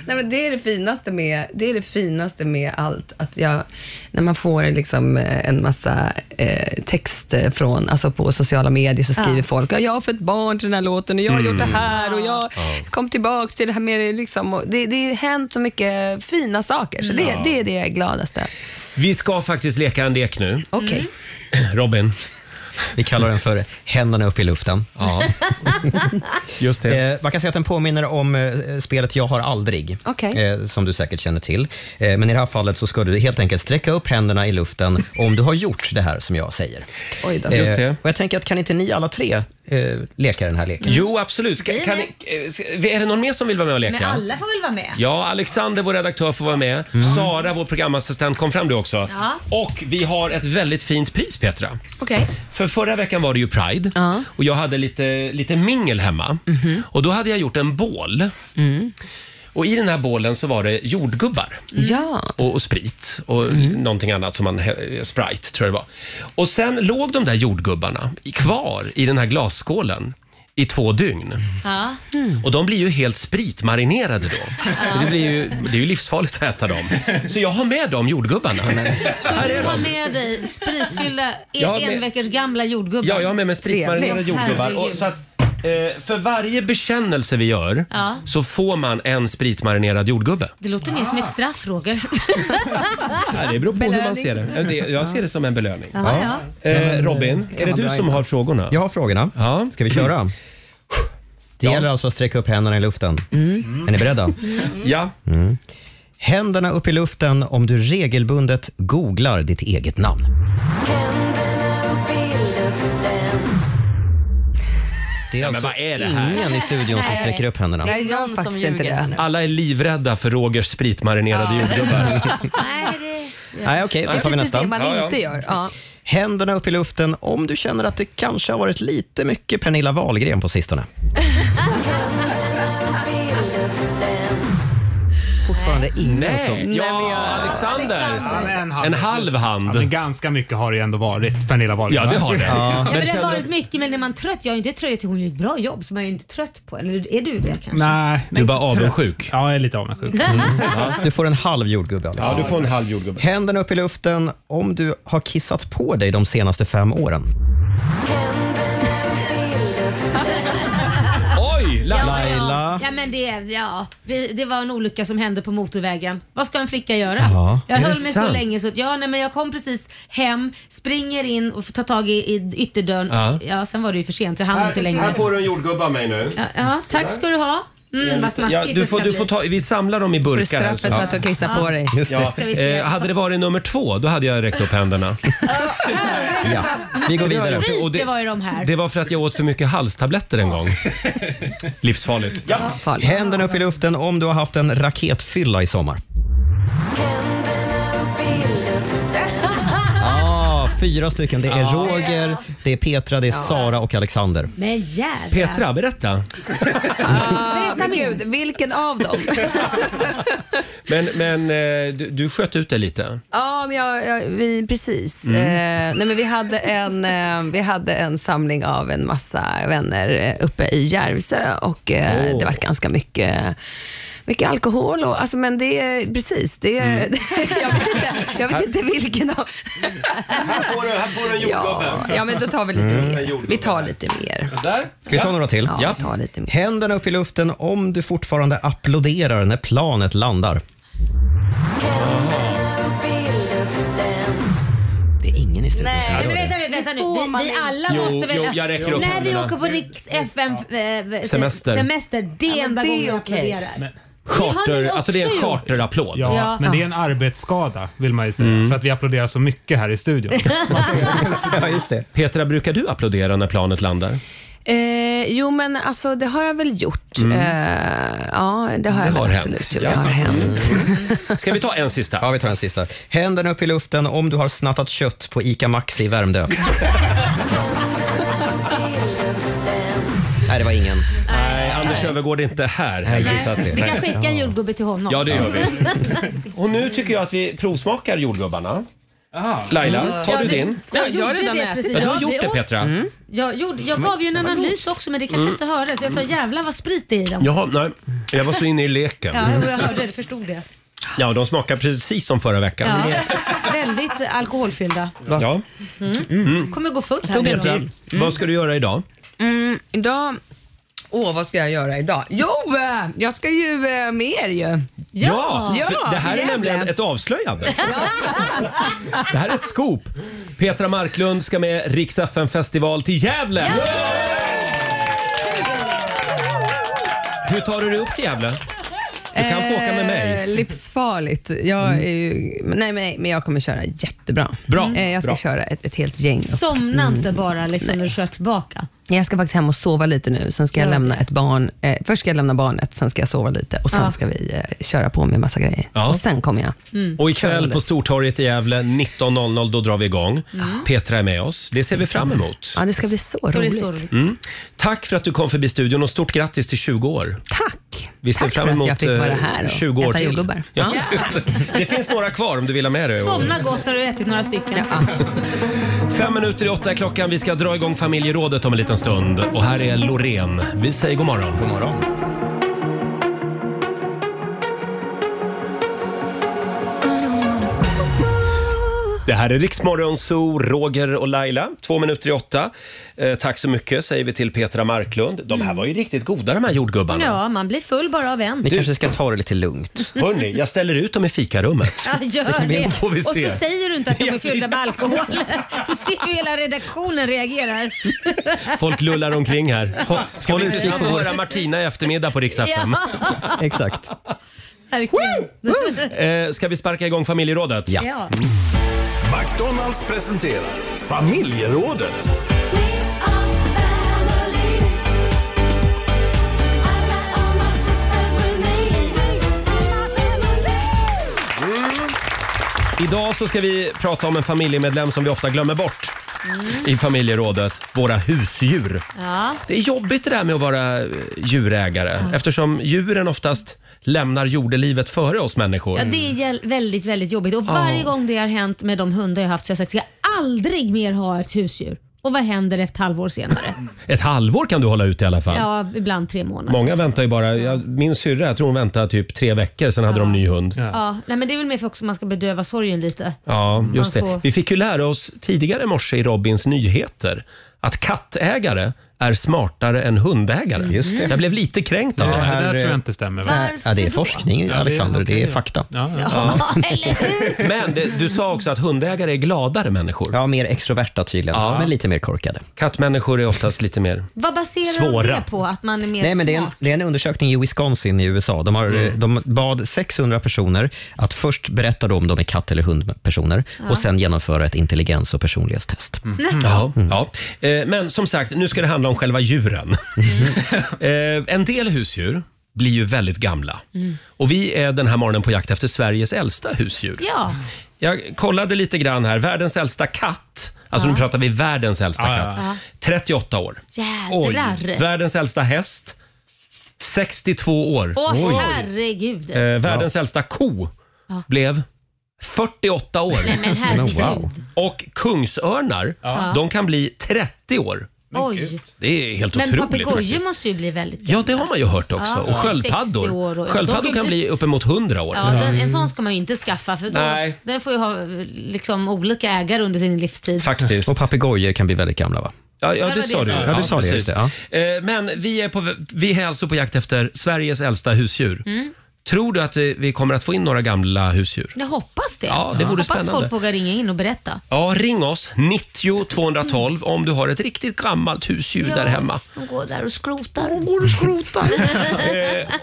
Nej, men det, är det, finaste med, det är det finaste med allt, att jag, när man får liksom eh, en massa eh, text från, alltså på sociala medier så skriver Ja. folk, "Ja, jag har fått barn till den här låten och jag har Mm. gjort det här och jag Ja. kom tillbaka till det här med det, liksom, och det. Det har hänt så mycket fina saker, så det, Ja. det är det jag är gladast över. Vi ska faktiskt leka en lek nu. Okej. Robin? Vi kallar den för Händerna upp i luften. Ja. Just Eh, man kan säga att den påminner om eh, spelet Jag har aldrig, Okej. eh, som du säkert känner till. Eh, men i det här fallet så ska du helt enkelt sträcka upp händerna i luften om du har gjort det här som jag säger. Oj då. Eh, Just det. Och jag tänker att kan inte ni alla tre eh, leka den här leken? Jo, absolut. Ska, kan, eh, ska- är det någon mer som vill vara med och leka? Men alla får väl vara med? Ja, Alexander, vår redaktör, får vara med. Mm. Sara, vår programassistent, kom fram du också. Ja. Och vi har ett väldigt fint pris, Petra. Okej. För förra veckan var det ju Pride och jag hade lite, lite mingel hemma. Och då hade jag gjort en bål. Mhm. Mm. Och i den här bålen så var det jordgubbar. Ja. Mm. Och, och sprit och någonting annat som man, eh, Sprite tror jag det var. Och sen låg de där jordgubbarna i- kvar i den här glasskålen i två dygn. Ja. Mm. Och de blir ju helt spritmarinerade då. Så det, blir ju, det är ju livsfarligt att äta dem. Så jag har med de jordgubbarna. Så Här du är har de. med dig spritfyllda, Jag har en, med- en veckors gamla jordgubbar? Ja, jag har med mig spritmarinerade Trevligt. jordgubbar. Och, Herregud. så att, eh, för varje bekännelse vi gör Ja. så får man en spritmarinerad jordgubbe. Det låter mer som ett straff, Roger. Ah. Ja, det beror på hur man Belöning. ser det. Eh, det. Jag ser det som en belöning. Ja, ja. Eh, Robin, kan är det man du dra som in. har frågorna? Jag har frågorna. Ja. Ska vi köra? Det gäller alltså att sträcka upp händerna i luften. Är ni beredda? Mm. Ja. Mm. Händerna upp i luften om du regelbundet googlar ditt eget namn. Det är Ja, men alltså vad är det här? ingen i studion som Nej. sträcker upp händerna. Nej, jag gör faktiskt inte det. Alla är livrädda för Rogers spritmarinerade jordgubbar. Nej, okej, Det då är tar precis vi nästa. det man inte gör. Ja. Händerna upp i luften om du känner att det kanske har varit lite mycket Pernilla Wahlgren på sistone. Fortfarande ingen Nej. som... Nej, Alltså, Ja, Alexander. En En halv hand. Ja, men ganska mycket har det ju ändå varit, Pernilla Wahlgren. Ja, det har det. Ja. Ja, men det har varit mycket, men när man är trött, jag är inte trött, hon gör ett bra jobb så man är ju inte trött på henne. Eller Är du det kanske? Mm. Nej, Du är bara avundsjuk. Ja, jag är lite avundsjuk. Mm. Du får en halv jordgubbe, Alexander. Ja, du får en halv jordgubbe. Händerna upp i luften om du har kissat på dig de senaste fem åren. Oj! Laila. Ja, men det, ja, vi, det var en olycka som hände på motorvägen. Vad ska en flicka göra? Ja, jag är det höll mig sant? så länge så att ja, nej, men jag kom precis hem, springer in och tar tag i, i ytterdörren. Ja. Ja. sen var det ju för sent, jag hann inte längre. Här får du en jordgubbe av mig nu. Ja, ja, tack ska du ha. Mm, vad smaskigt Ja, det du ska får, du bli. får ta, vi samlar dem i För burkar. här, straffet så- för att du kissar på dig. Just det. Ja, Ska vi se. eh, hade det varit nummer två, då hade jag räckt upp händerna. Ja. Vi går vidare. gjort. Och Ryker det- var ju de här. Det var för att jag åt för mycket halstabletter en gång. Livsfarligt. Ja. Händerna upp i luften om du har haft en raketfylla i sommar. Ah, fyra stycken. Det är Ja. Roger, det är Petra, det är Ja. Sara och Alexander. Men jävlar. berätta. Ah, men gud, vilken av dem? Men, men eh, du, du sköt ut det lite. Ja, men jag, jag, vi, precis. Mm. Eh, nej, men vi, hade en, eh, vi hade en samling av en massa vänner eh, uppe i Järvsö och eh, Åh. det var ganska mycket, mycket alkohol. Och, alltså, men det är precis, det, Mm. jag vet inte, jag vet inte vilken av... Här får du, här får du en ja, jordgubbe. ja, men då tar vi lite Mm. mer. Vi tar lite mer. Där. Ska vi ta några till? Ja, ta lite mer. Händerna upp i luften om du fortfarande applåderar när planet landar. Det är ingen i typ studion som Nej, gör men det. vänta, nu, vänta nu. Det får man Vi, vi inte. alla Jo, måste väl... jo, jag räcker upp När vi händerna. åker på Riks FM eh, Semester. semester det är enda det är gången jag okej. applåderar. Det har ni Charter, också alltså det är en gjort. charterapplåd. Ja, Ja. men det är en arbetsskada vill man ju säga. Mm. För att vi applåderar så mycket här i studion. ja, just det. Petra, brukar du applådera när planet landar? Eh, jo, men alltså, det har jag väl gjort. Mm. Eh, ja, det har jag väl absolut gjort. Det har hänt. Mm. Ska vi ta en sista? Ja, vi tar en sista. Händerna upp i luften om du har snattat kött på ICA Maxi i Värmdö. Nej, det var ingen. Nej, Anders Öfvergård är inte här. Nej, vi kan skicka en jordgubbe till honom. Ja, det gör vi. Och nu tycker jag att vi provsmakar jordgubbarna. Laila, tar Mm. Ja, du det- din? Jag, Jag har gjorde redan det Mm. ätit. precis. Ja, du har Jag- gjort det åt- Petra. Jag, gjorde, jag gav ju en analys också men det kanske Mm. inte hördes. Jag sa jävlar vad sprit det är i dem. Jaha, nej. Jag var så inne i leken. Ja, jo, jag hörde det, förstod det. Ja, de smakar precis som förra veckan. Ja. Väldigt alkoholfyllda. Ja. Mm. Kommer gå fullt här. nu då. Petra, vad ska du göra idag? Mm, idag... Åh, vad ska jag göra idag? Jo, eh, jag ska ju eh, med er ju. för det här är jävlar. nämligen ett avslöjande. Det här är ett scoop. Petra Marklund ska med Rix FM festival till Gävle. Hur tar du dig upp till Gävle? Du kan få åka med mig. Mm. Eh, Livsfarligt. Jag är ju, men nej, men nej, men jag kommer köra jättebra. Bra, Eh, jag ska bra. köra ett, ett helt gäng. upp. Mm. Somna inte bara liksom när du kör tillbaka. Jag ska faktiskt hem och sova lite nu. Sen ska jag Gör lämna ett barn. Eh, först ska jag lämna barnet, sen ska jag sova lite och sen Ja. ska vi eh, köra på med massa grejer. Ja. Och sen kommer jag. Mm. Och ikväll på Stortorget i Gävle 19.00 då drar vi igång. Mm. Petra är med oss. Det ser vi fram emot. Ja, det ska bli så bli roligt. så roligt. Mm. Tack för att du kom förbi studion och stort grattis till 20 år. Tack! Vi ser Tack för fram att emot jag fick vara eh, här och 20 år äta till. jordgubbar. Ja. Det finns några kvar om du vill ha med dig. Och- Somna gott när du har ätit några stycken. Fem minuter i åtta är klockan. Vi ska dra igång familjerådet om en liten stund. Och här är Loreen. Vi säger god morgon. God morgon. Det här är Riksmorgon Zoo, Roger och Laila. Två minuter i åtta. Eh, tack så mycket säger vi till Petra Marklund. De här var ju riktigt goda de här jordgubbarna. Mm. Ja, man blir full bara av en. ska ta det lite lugnt. Hörni, jag ställer ut dem i fikarummet. Ja, gör det. Då får vi Och se. så säger du inte att de är fyllda med alkohol. Så ser ju hela redaktionen reagerar. Folk lullar omkring här. Ska håll bli utkik intressant på att vår- höra Martina i eftermiddag på Rix FM. Ja. Exakt. Verkligen. Eh, ska vi sparka igång familjerådet? Ja. McDonalds presenterar familjerådet. Mm. Idag så ska vi prata om en familjemedlem som vi ofta glömmer bort i familjerådet. Våra husdjur. Ja. Det är jobbigt det där med att vara eh, djurägare eftersom djuren oftast lämnar jordelivet före oss människor. Ja, det är jäl- väldigt, väldigt jobbigt. Och Ja. varje gång det har hänt med de hundar jag haft så har jag sagt ska jag aldrig mer ha ett husdjur. Och vad händer ett halvår senare? Ett halvår kan du hålla ut i alla fall. Ja, ibland tre månader. Många väntar ju bara, jag, min syrra, jag tror hon väntade typ tre veckor, sen hade de ny hund. Ja, nej, men det är väl mer för också att man ska bedöva sorgen lite. Ja, Mm. just Man det. får- Vi fick ju lära oss tidigare i morse i Robins nyheter att kattägare är smartare än hundägare. Mm. Just det. Jag blev lite kränkt av Ja, det. det där tror jag inte stämmer. va? Varför Ja, det är då? forskning, Alexander. Det är fakta. Ja. Men det, du sa också att hundägare är gladare människor. Ja, mer extroverta tydligen, Ja. men lite mer korkade. Kattmänniskor är oftast lite mer... Vad baserar de Svåra. det på? Att man är mer Nej, men det, är en, smart? det är en undersökning i Wisconsin i USA. De, har, eh, de bad 600 personer att först berätta då om de är katt eller hundpersoner Ja. och sen genomföra ett intelligens och personlighetstest. Mm. Ja, ja. Mm. Eh, Men som sagt, nu ska det handla om själva djuren. Eh, en del husdjur blir ju väldigt gamla. Mm. Och vi är den här morgonen på jakt efter Sveriges äldsta husdjur. Ja. Jag kollade lite grann här. Världens äldsta katt. Alltså Ja. nu pratar vi världens äldsta Ja, ja, katt. ja. 38 år. Jädrar. Världens äldsta häst. 62 år. Åh herregud. Eh, världens äldsta ko Ja. blev 48 år. Nej, men herregud. Men wow. Och kungsörnar, Ja. de kan bli 30 år. Oj. Det är helt Men otroligt papegojor faktiskt. måste ju bli väldigt Ja, det har man ju hört också. Ja, och sköldpaddor. 60 år och- sköldpaddor de kan kan bli- bli uppemot 100 år. Mm. Ja, den, en sån ska man ju inte skaffa för då, Nej. den får ju ha liksom, olika ägare under sin livstid. Faktiskt. Och papegojor kan bli väldigt gamla va? Ja, ja, Ja, det det sa du. Ja, du sa det. precis. Just det ja. Eh, Men vi är, på, vi är alltså på jakt efter Sveriges äldsta husdjur. Mm. Tror du att eh, vi kommer att få in några gamla husdjur? Jag hoppas det. Ja, det vore hoppas spännande. folk vågar ringa in och berätta. Ja, ring oss, 90 212, om du har ett riktigt gammalt husdjur där hemma. De går där och skrotar. De går och skrotar.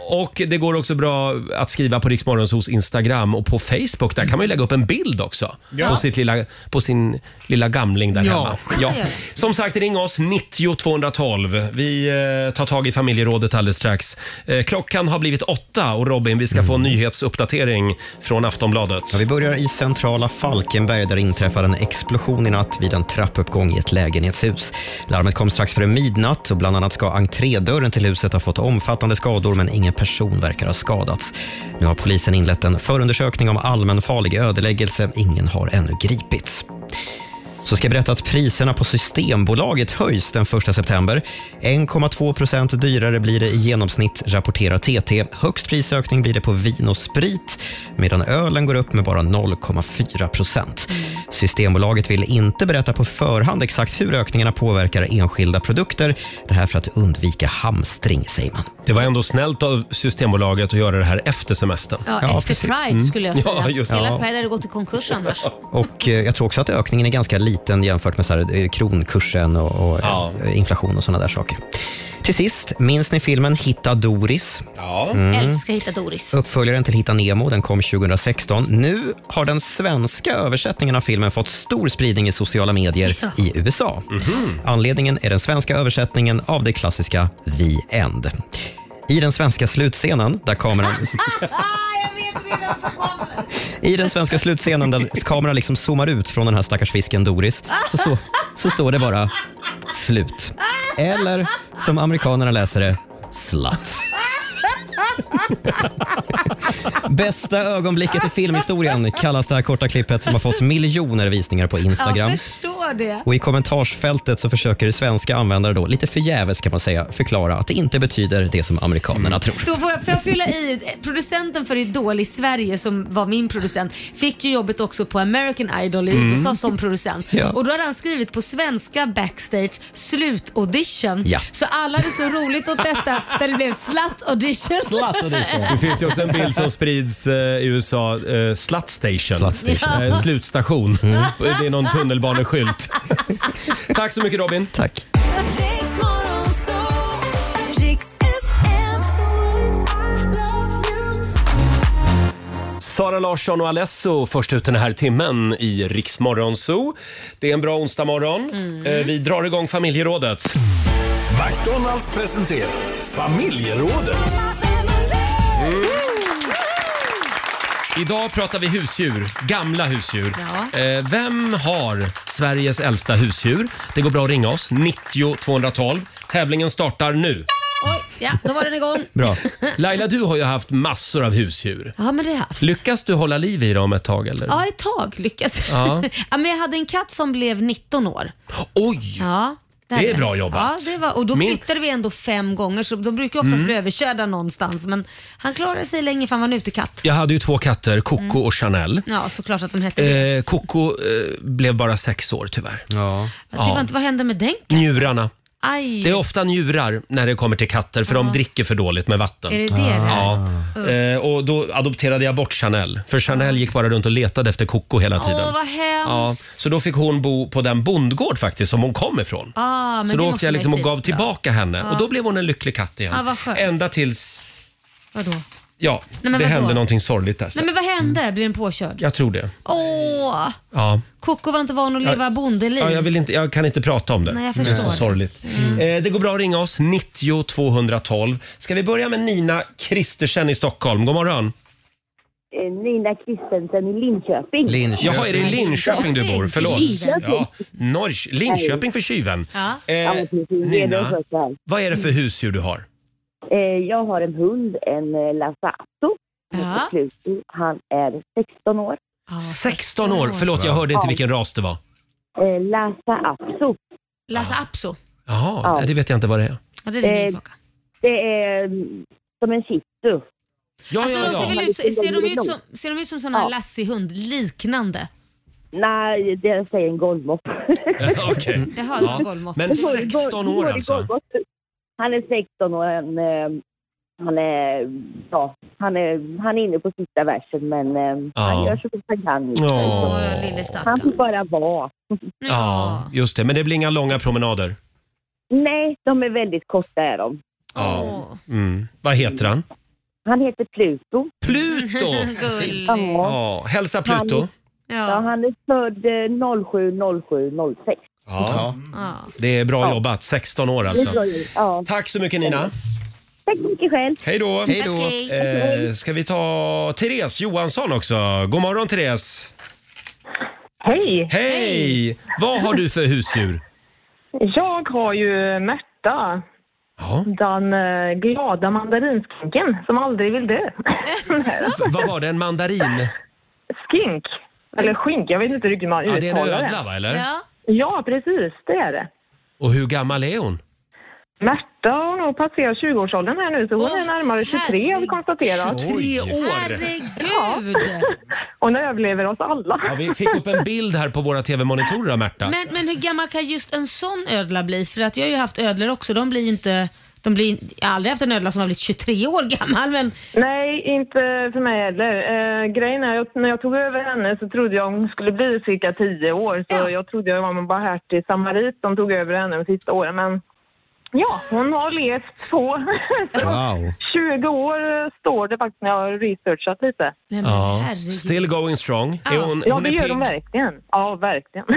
Och det går också bra att skriva på Riksmorgonsos Instagram och på Facebook. Där kan man ju lägga upp en bild också Ja. på, sitt lilla, på sin lilla gamling där Ja. hemma. Ja. Som sagt, ring oss 90 212. Vi eh, tar tag i familjerådet alldeles strax. Eh, klockan har blivit åtta och Robin, vi ska få en nyhetsuppdatering från Aftonbladet. Ja, vi börjar i centrala Falkenberg där det inträffade en explosion i natt vid en trappuppgång i ett lägenhetshus. Larmet kom strax före midnatt och bland annat ska entrédörren till huset ha fått omfattande skador men ingen person verkar ha skadats. Nu har polisen inlett en förundersökning om allmänfarlig ödeläggelse. Ingen har ännu gripits. Så ska jag berätta att priserna på Systembolaget höjs den 1 september. 1,2 procent dyrare blir det i genomsnitt, rapporterar TT. Högst prisökning blir det på vin och sprit, medan ölen går upp med bara 0,4 procent. Systembolaget vill inte berätta på förhand exakt hur ökningarna påverkar enskilda produkter. Det här för att undvika hamstring, säger man. Det var ändå snällt av Systembolaget att göra det här efter semestern. Ja, efter Pride Mm. skulle jag säga. Ja, just det. Hela Ja. Pride hade gått i konkurs annars. Och eh, jag tror också att ökningen är ganska liten jämfört med så här, eh, kronkursen och, och eh, inflation och sådana där saker. Till sist, minns ni filmen Hitta Doris? Mm. Ja. Älskar Hitta Doris. Uppföljaren till Hitta Nemo, den kom 2016. Nu har den svenska översättningen av filmen fått stor spridning i sociala medier Ja. i USA. Anledningen är den svenska översättningen av det klassiska The End. I den svenska slutscenen, där kameran... I den svenska slutscenen där kameran liksom zoomar ut från den här stackars fisken Doris så, stå, så står det bara slut. Eller som amerikanerna läser det, slatt. Bästa ögonblicket i filmhistorien kallas det här korta klippet som har fått miljoner visningar på Instagram. Jag förstår det. Och I kommentarsfältet så försöker svenska användare då, lite förgäves kan man säga, förklara att det inte betyder det som amerikanerna tror. Då får jag, får jag fylla i, producenten för Idol i Sverige som var min producent fick ju jobbet också på American Idol i Mm. USA som producent. Ja. Och då hade han skrivit på svenska backstage slutaudition. Ja. Så alla hade så roligt åt detta där det blev slatt audition. Slatt Det finns ju också en bild som sprids eh, i USA, eh, Slut Station. Slut Station. Eh, slutstation. Det är någon tunnelbaneskylt. Tack så mycket Robin. Tack. Sara Larsson och Alesso först ut den här timmen i Riksmorgon Zoo. Det är en bra onsdagmorgon. Mm. Eh, Vi drar igång familjerådet. McDonalds presenterar familjerådet. Idag pratar vi husdjur, gamla husdjur. Eh, Vem har Sveriges äldsta husdjur? Det går bra att ringa oss, 90 212. Tävlingen startar nu. Oj, ja, då var den igång. Bra. Laila, du har ju haft massor av husdjur. Ja, men det har jag haft. Lyckas du hålla liv i dem ett tag eller? Ja, ett tag lyckas Ja. ja. men Jag hade en katt som blev 19 år. Oj! Ja, Det hade är jag. bra jobbat. Ja, det var, och då Min- flyttade vi ändå fem gånger, så de brukar oftast Mm. bli överkörda någonstans. Men han klarade sig länge för han var en utekatt. Jag hade ju två katter, Coco Mm. och Chanel. Ja, såklart att de hette det. Eh, Coco eh, blev bara sex år tyvärr. Ja. det. var inte, vad hände med den? Njurarna. Aj. Det är ofta njurar när det kommer till katter för de Ja. dricker för dåligt med vatten. Är det det det är? Ja. Usch. Eh, och då adopterade jag bort Chanel. För Chanel gick bara runt och letade efter Coco hela tiden. Åh, vad Ja, hemskt. så då fick hon bo på den bondgård faktiskt som hon kom ifrån. Ah, men så det då åkte måste jag vara liksom och trist gav då. tillbaka henne Ja. och då blev hon en lycklig katt igen. Ja, Ah, vad skönt. Ända tills, Vadå? ja, Mm. men det vadå? hände någonting sorgligt där. sen. Nej men vad hände? Blev den påkörd? Jag tror det. Åh! Ja. Koko var inte van att Ja. leva bondeliv. Ja, jag, vill inte, jag kan inte prata om det. Nej, jag det är så förstår. sorgligt. Eh, det går bra att ringa oss, 90 212. Ska vi börja med Nina Kristersen i Stockholm? God morgon. eh, Nina Kristensen i Linköping. Jaha, är det i Linköping du bor? Förlåt. Linköping. Ja, Norr, Linköping för tjuven. Ja. Eh, Ja, men precis. Det är Nina, det första här. vad är det för husdjur du har? Eh, Jag har en hund, en eh, Lasato. Ja. Han är 16 år. 16 år. Förlåt, jag hörde inte Ja. vilken ras det var. Eh, Lhasa Apso. Lhasa Apso? Jaha, Ja. nej, det vet jag inte vad det är. Ja, det är din eh, det är mm, som en shih tzu. Ja, Alltså, ja, de ser, ja. väl ut, ser, de ut som, ser de ut som såna Ja. lassihund liknande? Nej, det jag säger en golvmopp. Okej. Jaha, Mm. det var golvmopp. Men 16 år alltså? Han är 16 år. Han, eh, han, är, ja, han, är, han är inne på sista versen, men eh, han Ja. gör så gott han kan. Ja, lille stackarn. Han får bara vara. Ja, just det. Men det blir inga långa promenader. Nej, de är väldigt korta. Är de. Ja. Mm. Vad heter han? Han heter Pluto. Pluto! Gullig. Ja, hälsa Pluto. Ja. Ja, han är född eh, 07 07 06. Ja, Ja. det är bra jobbat. 16 år alltså. Ja. Tack så mycket Nina. Tack så mycket själv. Hej då! Hej då. Tack, hej. Eh, ska vi ta Therese Johansson också? God morgon Therese! Hej! Hej! Vad har du för husdjur? Jag har ju Märta. Den eh, glada mandarinskinken som aldrig vill dö. alltså, V- Vad var det? En mandarin? Skink. Eller skink, jag vet inte riktigt hur man Ja, det är en uttalar ödla, va, eller? Ja. Ja, precis. Det är det. Och hur gammal är hon? Märta har nog passerat 20-årsåldern här nu, så hon är närmare 23 har vi konstaterat. 23 år? Herregud! Hon överlever oss alla. Ja, vi fick upp en bild här på våra tv-monitorer av Märta. Men, men hur gammal kan just en sån ödla bli? För att jag har ju haft ödlor också. De blir ju inte... De blir, jag har aldrig haft en ödla som har blivit 23 år gammal. Men Nej, inte för mig heller. Eh, grejen är att när jag tog över henne så trodde jag hon skulle bli cirka 10 år. Så jag trodde jag var en barmhärtig samarit som tog över henne de sista åren. Men ja, hon har levt på. Så Wow. 20 år eh, står det faktiskt när jag har researchat lite. Ja, still going strong. Är hon, ja, hon det är gör pigg. hon verkligen. Ja, verkligen.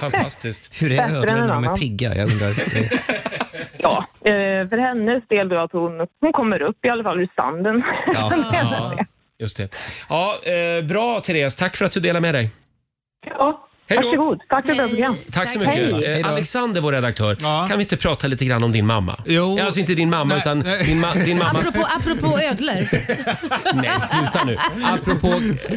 Fantastiskt. Hur är Bättre ödlorna än när de är annan. pigga? Jag undrar. ja, eh, för hennes del då att hon, hon kommer upp i alla fall ur sanden. Ja. Ja, just det. Ja, eh, bra Therese, tack för att du delar med dig. Ja. Hej då. Varsågod. Tack för ett bra program. Tack så mycket. Hej. Eh, Alexander, vår redaktör, kan vi inte prata lite grann om din mamma? Jo. Alltså inte din mamma, utan din, ma- din mammas... apropå, apropå ödlor. Nej, sluta nu. Apropå,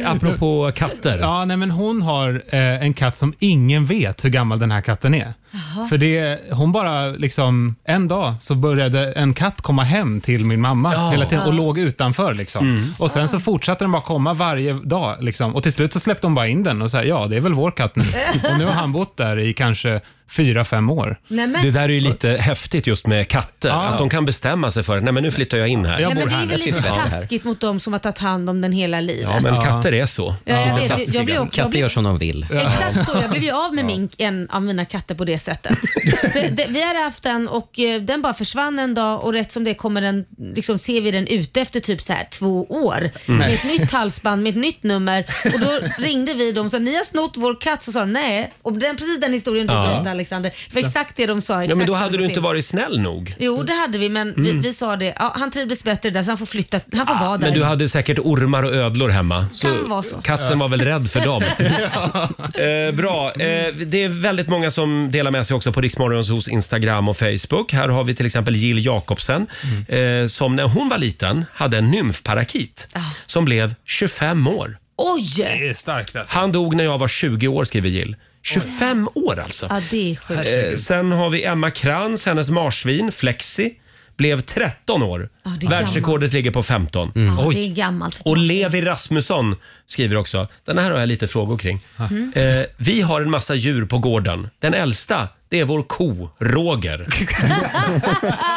apropå katter. Ja, nej, men hon har eh, en katt som ingen vet hur gammal den här katten är. Jaha. För det, hon bara liksom, en dag så började en katt komma hem till min mamma hela tiden och Ja. Mm. låg utanför liksom. Och sen så fortsatte den bara komma varje dag liksom. Och till slut så släppte hon bara in den och sa ja, det är väl vår katt nu. och nu har han bott där i kanske fyra, fem år. Nej, men- Det där är ju lite häftigt just med katter, Ja. att de kan bestämma sig för nej men nu flyttar jag in här. Nej, men det är väl Jag lite trivs bättre här. taskigt mot de som har tagit hand om den hela livet. Ja, men katter är så. Ja, jag vet. Jag- jag blir också- Katter jag blir- gör som de vill. Exakt så, jag blev ju av med min, en av mina katter på det sättet. Så det, vi hade haft den och eh, den bara försvann en dag och rätt som det kommer den, liksom ser vi den ute efter typ så här två år. Mm. Med ett nytt halsband, med ett nytt nummer. Och då ringde vi dem och sa ni har snott vår katt. Så sa de nej. Och den, precis den historien du Ja. berättade Alexander. Det var exakt det de sa. Exakt Ja, men då så det hade går du inte till. varit snäll nog. Jo det hade vi men vi, vi sa det, ja, han trivdes bättre där så han får flytta, han får vara där. Ah, Men du hade säkert ormar och ödlor hemma. Kan vara så. Katten var väl rädd för dem. eh, bra. Eh, det är väldigt många som delar med sig också på Riksmorgons hos Instagram och Facebook. Här har vi till exempel Jill Jakobsen Mm. eh, som när hon var liten hade en nymfparakit som blev 25 år. Oj! Det är starkt alltså. Han dog när jag var 20 år skriver Jill. 25 år alltså. Ja det är sjukt. Eh, sen har vi Emma Kranz, hennes marsvin Flexi, blev 13 år. Ja, det är Världsrekordet ligger på 15. Ja, Oj. det är gammalt. Och Levi Rasmusson skriver också, den här har jag lite frågor kring. Mm. Eh, vi har en massa djur på gården. Den äldsta, det är vår ko, Roger.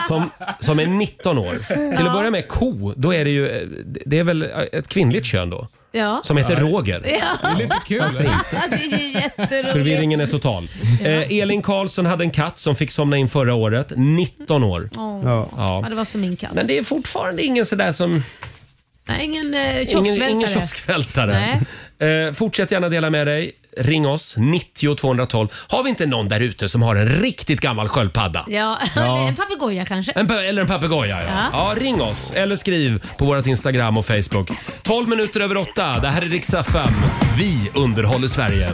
som, som är 19 år. Till att börja med ko, då är det ju, eh, det är väl ett kvinnligt kön då? Ja. Som heter Roger. Ja. Det är lite kul. det är jätteroligt. Förvirringen är total. Eh, Elin Karlsson hade en katt som fick somna in förra året, 19 år. Åh. Ja. Ja, det var som min katt. Men det är fortfarande ingen sådär som... Nej, ingen eh, Ingen, kioskvältare. ingen kioskvältare. Eh, fortsätt gärna dela med dig. Ring oss, 90 212. Har vi inte någon där ute som har en riktigt gammal sköldpadda? Ja, eller en papegoja kanske. En, pa- eller en papegoja, ja. Ja. ja. ring oss eller skriv på vårt Instagram och Facebook. 12 minuter över åtta. Det här är Rix FM. Vi underhåller Sverige.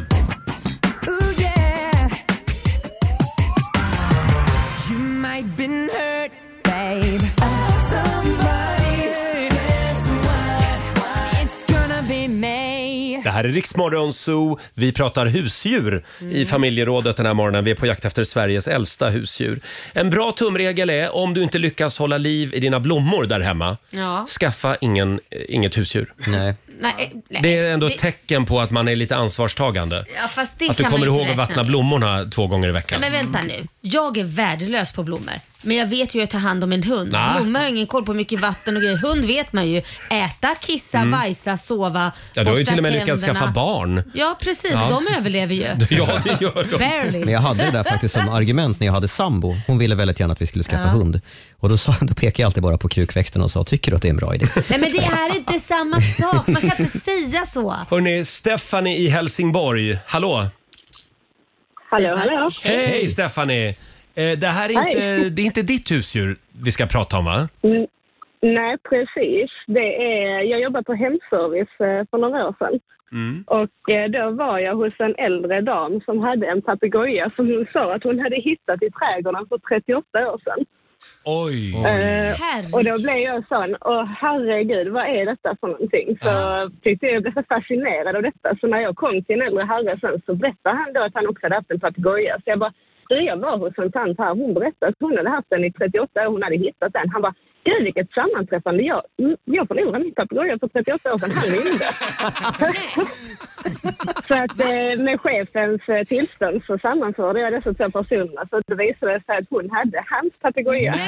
You might been hurt, babe. Somebody guess what? It's gonna be me. Det här är Riksmorgon Zoo. Vi pratar husdjur Mm. i familjerådet den här morgonen. Vi är på jakt efter Sveriges äldsta husdjur. En bra tumregel är om du inte lyckas hålla liv i dina blommor där hemma, Ja. skaffa ingen, eh, inget husdjur. Nej. Nej, eh, nej. Det är ändå Det- ett tecken på att man är lite ansvarstagande. Ja, fast det att du kan kommer man ihåg inte att räkna vattna med. blommorna två gånger i veckan. Nej, men vänta nu. Jag är värdelös på blommor. Men jag vet ju hur jag tar hand om en hund. Nä. Blommor har jag ingen koll på hur mycket vatten och grejer. Hund vet man ju. Äta, kissa, Mm. bajsa, sova, Ja, du har ju borsta till och med lyckats tänderna. skaffa barn. Ja, precis. Ja. De överlever ju. Ja, det gör de. Barely. Men jag hade det där faktiskt som argument när jag hade sambo. Hon ville väldigt gärna att vi skulle skaffa Ja. hund. Och då, sa, då pekade jag alltid bara på krukväxten och sa, tycker du att det är en bra idé? Nej, men det är inte samma sak. Man kan inte säga så. Hörni, Stephanie i Helsingborg. Hallå! Hallå, hallå. Hej, Stephanie! Eh, det här är Hej. inte, det är inte ditt husdjur vi ska prata om va? Mm, Nej, precis. Det är, jag jobbade på hemservice eh, för några år sedan. Mm. Och eh, då var jag hos en äldre dam som hade en papegoja som hon sa att hon hade hittat i trädgården för 38 år sedan. Oj! Eh, och då blev jag sån, åh herregud, vad är detta för någonting? Så tyckte jag, jag blev så fascinerad av detta. Så när jag kom till en äldre herre sen så berättade han då att han också hade haft en papegoja. Så jag bara, du jag var hos en tant här, hon berättade att hon hade haft den i 38 år, hon hade hittat den. Han bara, gud vilket sammanträffande, jag, mm, jag förlorade min papegoja för 38 år sedan, han ringde. så att eh, med chefens eh, tillstånd så sammanförde jag dessa två personer. Så det visade sig att hon hade hans papegoja.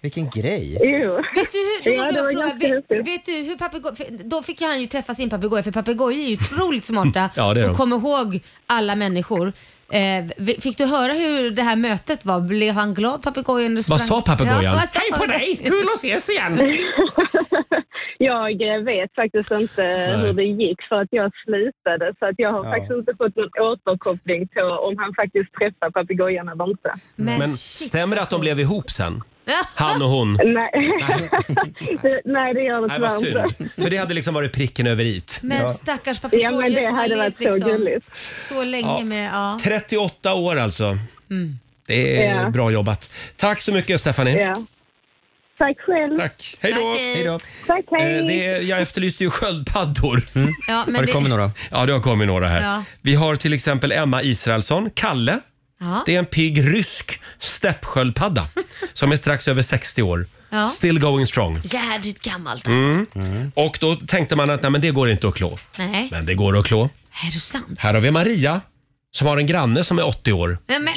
Vilken grej! Jo. Vet du hur, då Ja, måste det var jag fråga, ganska vet, vet du hur papegoj- för Då fick ju han ju träffa sin papegoja för papegojor är ju otroligt smarta Ja, det är de. och kommer ihåg alla människor. Eh, vi- fick du höra hur det här mötet var? Blev han glad papegojan? eller Vad sprang- sa papegojan? Hej på dig! Kul att ses igen! jag eh, vet faktiskt inte hur det gick för att jag slutade så att jag har Ja. faktiskt inte fått någon återkoppling på om han faktiskt träffar papegojan eller inte. Men stämmer det att de blev ihop sen? Han och hon? Nej. Det- Nej, det gör det Nej, vad tyvärr inte. synd. För det hade liksom varit pricken över it. Men Ja. stackars Ja, men papegojor det som har hade levt varit så liksom, gulligt. så länge Ja. med... Ja. 38 år alltså. Mm. Det är Ja. bra jobbat. Tack så mycket Stephanie. Ja. Tack själv. Tack. Hej då. Tack, hej. Hej då. Tack, hej. Eh, det är, jag efterlyste ju sköldpaddor. Mm. Ja, men Har det det- kommit några? Ja, det har kommit några här. Ja. Vi har till exempel Emma Israelsson, Kalle. Ja. Det är en pigg rysk steppsköldpadda som är strax över 60 år. Ja. Still going strong. Jädrigt gammalt alltså. Mm. Och då tänkte man att nej, men det går inte att klå. Nej, Men det går att klå. är det sant? Här har vi Maria som har en granne som är 80 år. Men, men,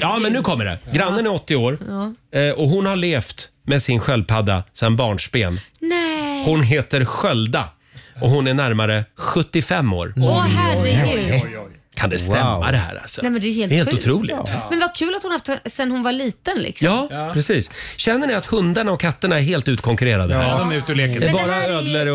Ja, men nu kommer det. Grannen är 80 år ja. eh, och hon har levt med sin sköldpadda sedan barnsben. Nej. Hon heter Skölda och hon är närmare 75 år. Åh herregud. Kan det stämma Wow. det här alltså? Nej, men det är helt, sjukt. otroligt. Men vad kul att hon haft sen hon var liten liksom. Ja, precis. Känner ni att hundarna och katterna är helt utkonkurrerade? Ja, de är ute och leker. Det är Men bara det här är ju- ödlor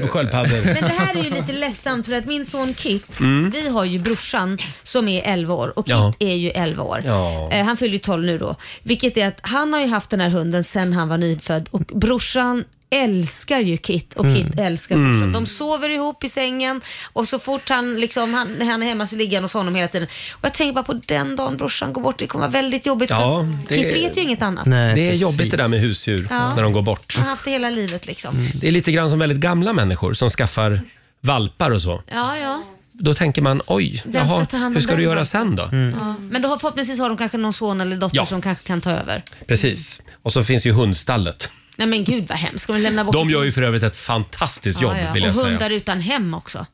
och eh, sköldpaddor. Men det här är ju lite ledsamt för att min son Kit, Mm. vi har ju brorsan som är 11 år och Kit Ja. är ju 11 år. Ja. Eh, han fyller ju 12 nu då. Vilket är att han har ju haft den här hunden sedan han var nyfödd och brorsan älskar ju Kit och Kit Mm. älskar brorsan. Mm. De sover ihop i sängen och så fort han, liksom, han, när han är hemma så ligger han hos honom hela tiden. Och jag tänker bara på den dagen brorsan går bort, det kommer vara väldigt jobbigt för Ja, att det- Kit vet ju inget annat. det är jobbigt det där med husdjur Ja. när de går bort. Han har haft det hela livet liksom. Det är lite grann som väldigt gamla människor som skaffar valpar och så. Ja, ja. Då tänker man, oj, Vem jaha, ska ta hand om hur ska den du göra valpen? sen då? Mm. Ja. Men då har, förhoppningsvis har de kanske någon son eller dotter Ja. som kanske kan ta över. Precis. Och så finns ju hundstallet. Nej men gud vad hemskt. Ska de lämna bort De gör ju för övrigt ett fantastiskt jobb Ja, ja. vill jag Och säga. hundar utan hem också.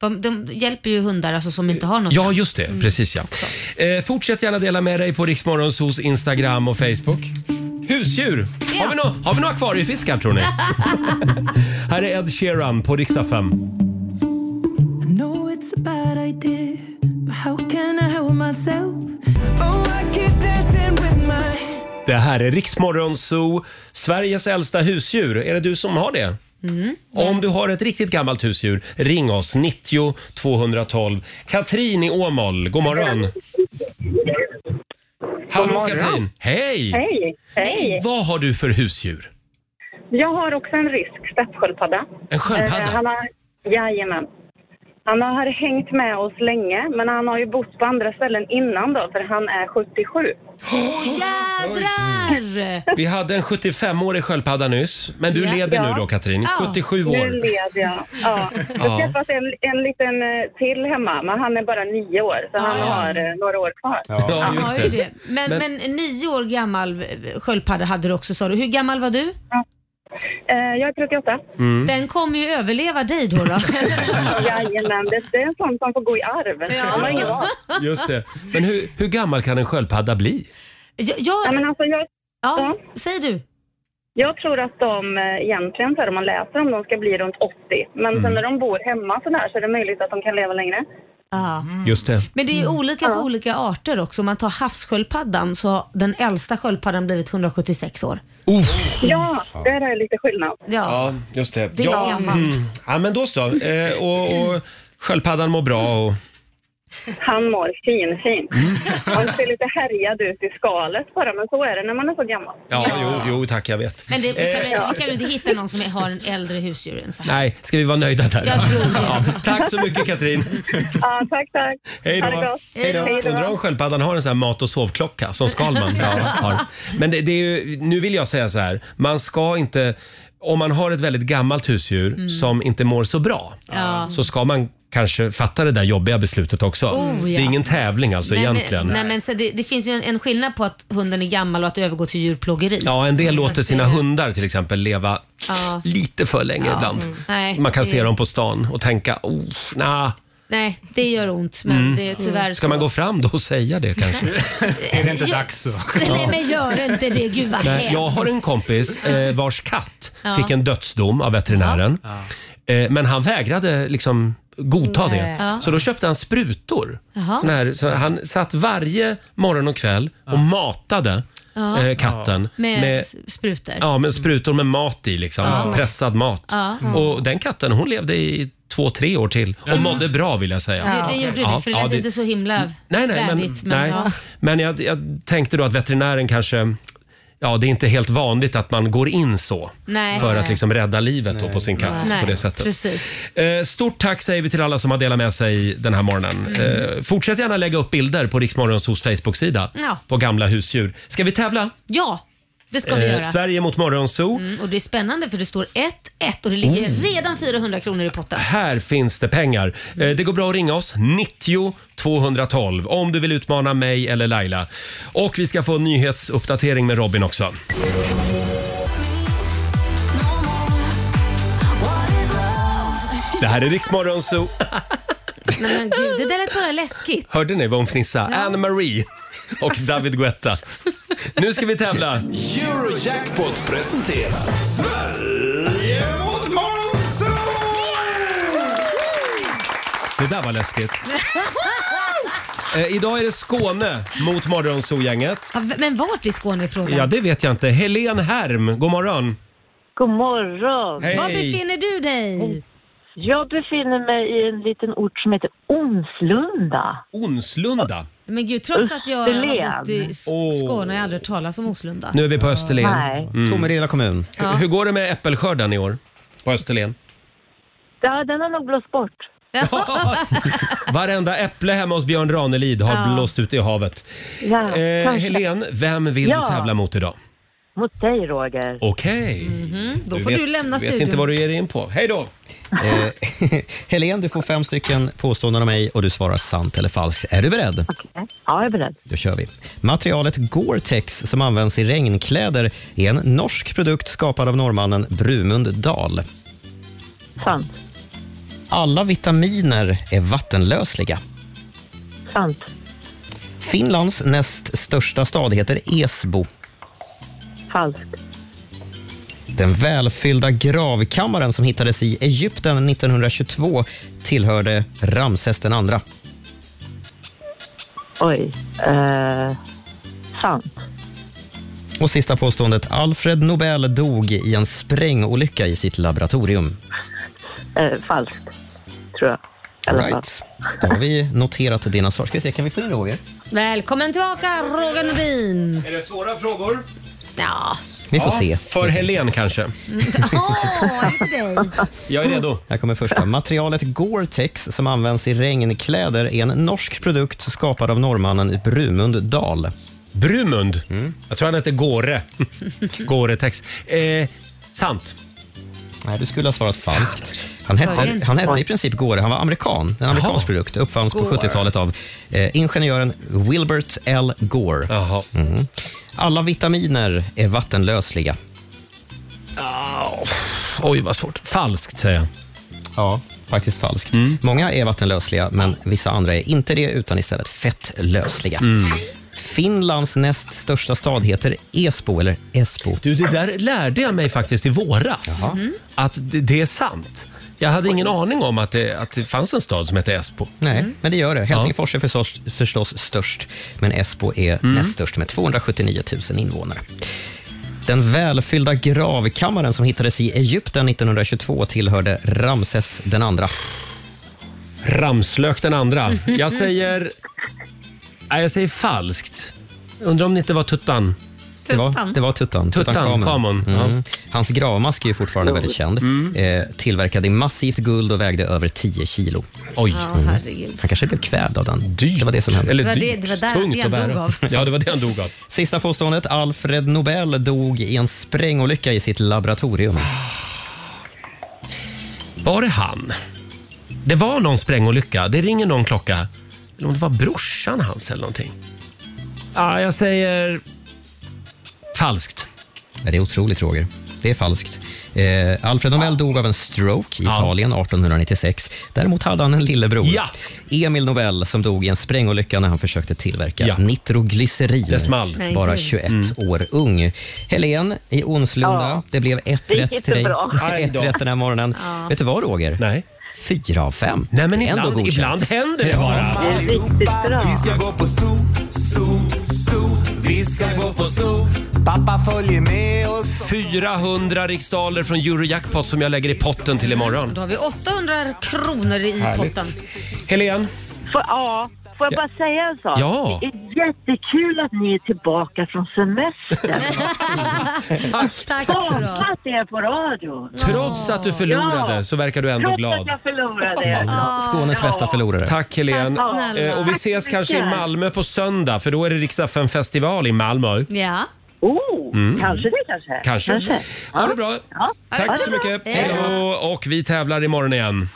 De, de hjälper ju hundar alltså, som inte har något Ja, hem. just det. Mm. Precis ja. Eh, fortsätt gärna dela med dig på Riksmorgonsos Instagram och Facebook. Husdjur! Har, vi nå- har vi några akvariefiskar tror ni? Här är Ed Sheeran på Riksdag I 5. know it's a bad idea, but how can I help myself? Oh, I keep dancing with my Det här är Riksmorgonso, Sveriges äldsta husdjur. Är det du som har det? Om du har ett riktigt gammalt husdjur, ring oss. 90 212. Katrin i Åmål, god morgon. Hallå Katrin! Hej! Hej! Hej! Vad har du för husdjur? Jag har också en rysk statssköldpadda. En sköldpadda? Eh, Han har, jajamän. Han har hängt med oss länge, men han har ju bott på andra ställen innan då, för han är 77. Åh jädrar! Vi hade en 75-årig sköldpadda nyss, men du Ja. leder nu Ja. då Katrin. 77 år. Nu leder jag. Ja. Jag Ja. har träffat en, en liten eh, till hemma, men han är bara nio år, så han Ja. har eh, några år kvar. Ja, Han just har ju det. det. Men, men, nio år gammal eh, sköldpadda hade du också sa du. Hur gammal var du? Jag är 38. Mm. Den kommer ju överleva dig då. då. Jajamän, det, det är en sån som får gå i arv. Han har ingen val. Just det. Men hur, hur gammal kan en sköldpadda bli? Jag, ja, men alltså jag, ja, säg du. Jag tror att de eh, egentligen, så här, om man läser om de ska bli runt 80. Men sen när de bor hemma så där så är det möjligt att de kan leva längre. Ja. Just det. Men det är ju Mm. olika för olika arter också. Om man tar havssköldpaddan så har den äldsta sköldpaddan blivit 176 år. Ja, där är lite skillnad. Ja. Ja, just det. Det är ja, gammalt. Mm. ja, men då så. Eh, och, och sköldpaddan mår bra och... Han mår fin, fin. Han ser lite härjad ut i skalet bara, men så är det när man är så gammal. Ja, jo, jo tack, jag vet. Men det, vi, kan väl, Eh, inte- vi kan väl inte hitta någon som är- har en äldre husdjur än så här? Nej, ska vi vara nöjda där? Jag tror det. Ja, tack så mycket Katrin. Ja, tack, tack. Hej Ha det då. gott. Hej då. Undrar om sköldpaddan har en sån här mat och sovklocka som Skalman ja, har. Men det, det är ju, nu vill jag säga så här, man ska inte, om man har ett väldigt gammalt husdjur Mm. som inte mår så bra, Ja. så ska man kanske fatta det där jobbiga beslutet också. Oh, ja. Det är ingen tävling alltså nej, egentligen. Men, nej, men så det, det finns ju en, en skillnad på att hunden är gammal och att övergå till djurplågeri. Ja, en del Så låter att sina det- hundar till exempel leva Ja. lite för länge Ja. ibland. Mm. Nej, man kan det- se dem på stan och tänka, oh, nah. Nej, det gör ont, men Mm. det är tyvärr Ska man så. gå fram då och säga det kanske? Är det inte Ja. dags så? Nej, men gör inte det. Gud vad Nej, hemskt. jag har en kompis eh, vars katt Ja. fick en dödsdom av veterinären. Eh, men han vägrade liksom godta Nej. det. Ja. Så då köpte han sprutor. Jaha. Sån här, så han satt varje morgon och kväll och matade Ja. eh, katten Med, med, sprutor. ja, med sprutor med mat i. Liksom, Ja. Pressad mat. Ja. Mm. Och Den katten hon levde i två, tre år till och Mm. mådde bra vill jag säga. Det, det gjorde du, för det lät inte så himla Mm. Nej, nej, men, värdigt. nej. ja. men jag, jag tänkte då att veterinären kanske... Ja, det är inte helt vanligt att man går in så Nej. för att Nej. liksom rädda livet då på sin katt Nej, på det sättet. Precis. Eh, Stort tack säger vi till alla som har delat med sig den här morgonen. Mm. Eh, Fortsätt gärna lägga upp bilder på Riksmorgonsos Facebook-sida Ja. på gamla husdjur. Ska vi tävla? Ja, det ska vi Eh, göra. Sverige mot Morgonzoo. Mm, och det är spännande för det står 1-1 och det ligger Oh. redan 400 kronor i potten. Här finns det pengar. Eh, Det går bra att ringa oss, 90 212, om du vill utmana mig eller Laila. Och vi ska få en nyhetsuppdatering med Robin också. Det här är Riksmorgon Zoo. Men, men gud, det där lät bara läskigt. Hörde ni vad hon fnissade? Anne Marie och David Guetta. Nu ska vi tävla. Eurojackpot presenterar Sverige mot Det där var läskigt. Eh, idag är det Skåne mot Morgonzoo-gänget. Ja, v- Men vart i Skåne är frågan? Ja, det vet jag inte. Helen Herm, god morgon. God morgon! Hej. Var befinner du dig? Jag befinner mig i en liten ort som heter Onslunda. Onslunda? Men gud, trots att jag har Österlen. bott i S- Skåne har jag aldrig talat om Oslunda. Nu är vi på Österlen. Mm. Nej. Tomelilla kommun. Ja. Hur går det med äppelskörden i år på Österlen? Ja, den har nog blåst bort. Varenda äpple hemma hos Björn Ranelid har Ja. blåst ut i havet. Ja, Eh, kanske. Helen, vem vill Ja. du tävla mot idag? Mot dig, Roger. Okej. Mm. Mhm, Då Du får vet- du lämna du studion. vet inte vad du ger dig in på. Hej då! Eh, Helen, du får fem stycken påståenden av mig och du svarar sant eller falskt. Är du beredd? Ja, jag är beredd. Då kör vi. Materialet Gore-Tex som används i regnkläder är en norsk produkt skapad av norrmannen Brumund Dahl. Sant. Alla vitaminer är vattenlösliga. Sant. Finlands näst största stad heter Esbo. Falskt. Den välfyllda gravkammaren som hittades i Egypten 1922 tillhörde Ramses den andra. Oj. Eh, sant. Och sista påståendet. Alfred Nobel dog i en sprängolycka i sitt laboratorium. Eh, falskt, tror jag. I alla fall. Right. Då har vi noterat dina svar. Ska vi se, kan vi få in Roger? Välkommen tillbaka Roger Nordin. Är det svåra frågor? Ja. Mm. Vi får se. För Helen kanske. Åh, inte dig. Jag är redo. Här kommer första. Materialet Gore-Tex som används i regnkläder är en norsk produkt skapad av norrmannen Brumund Dahl. Mm. Brumund? Jag tror han hette Gore. Gore-Tex. Eh, sant. Nej, du skulle ha svarat falskt. Han Var det hette, inte? han hette i princip Gore. Han var amerikan. En amerikansk Jaha. produkt. Uppfanns på Gore. 70-talet av eh, ingenjören Wilbert L. Gore. Mm. Alla vitaminer är vattenlösliga. Oj, vad svårt. Falskt, säger jag. Mm. Ja, faktiskt falskt. Många är vattenlösliga, men vissa andra är inte det, utan istället fettlösliga. Mm. Finlands näst största stad heter Esbo, eller Esbo. Du, det där lärde jag mig faktiskt i våras. Mm. Att det, det är sant. Jag hade ingen aning om att det, att det fanns en stad som hette Esbo. Nej, men det gör det. Helsingfors är förstås, förstås störst, men Esbo är Mm. näst störst med 279 000 invånare. Den välfyllda gravkammaren som hittades i Egypten 1922 tillhörde Ramses den andra. Ramslök den andra. Jag säger... Nej, jag säger falskt. Undrar om det inte var Tuttan. Det var, det var Tuttan. Tuttan, Kamon, ja. Mm. Mm. Hans gravmask är ju fortfarande väldigt känd. Eh, tillverkad i massivt guld och vägde över 10 kilo. Oj. Ja, herregud. Han kanske blev kvävd av den. Dyrt. Det var det som hände. Eller Det var det- dyrt. det var där Tungt det han att bära. dog av. Ja, det var det han dog av. Sista påståendet. Alfred Nobel dog i en sprängolycka i sitt laboratorium. Var det han? Det var någon sprängolycka. Det ringer någon klocka. Eller om det var brorsan hans eller någonting. Ja, jag säger... Falskt. Ja, Det är otroligt, Roger. Det är falskt. Eh, Alfred Nobel dog av en stroke i Italien 1896. Däremot hade han en lillebror, Emil Nobel, som dog i en sprängolycka när han försökte tillverka nitroglycerin. Det small. Mm. Nej, Bara gud. 21 år ung. Helen i Onslunda, Ja. det blev ett Det gick rätt inte till dig. bra. Aj ett då. rätt den här morgonen. Ja. Vet du vad, Roger? Nej. Fyra av fem. Nej, men Det är ändå ibland, godkänt. ibland händer det bara. Vi ska gå på zoo, zoo, zoo. Vi ska gå på zoo. Pappa följer med oss. 400 riksdaler från Eurojackpot som jag lägger i potten till Då imorgon. har vi 800 kronor i Härligt. potten. Helen? Får, ja, får jag Ja. bara säga en sak? Ja. Det är jättekul att ni är tillbaka från semestern. Tack. Tack så du ha. Saknat er på radio. Trots att du förlorade så verkar du ändå Trots glad. att jag förlorade. Skånes bästa förlorare. Tack Helen. Tack snälla. Eh, och vi Tack så ses mycket. kanske i Malmö på söndag för då är det riksdagen festival i Malmö. Ja. Oh, Mm. kanske det kanske. Kanske. Ha det bra. Tack så mycket. Hej då. Mm. Och vi tävlar imorgon igen.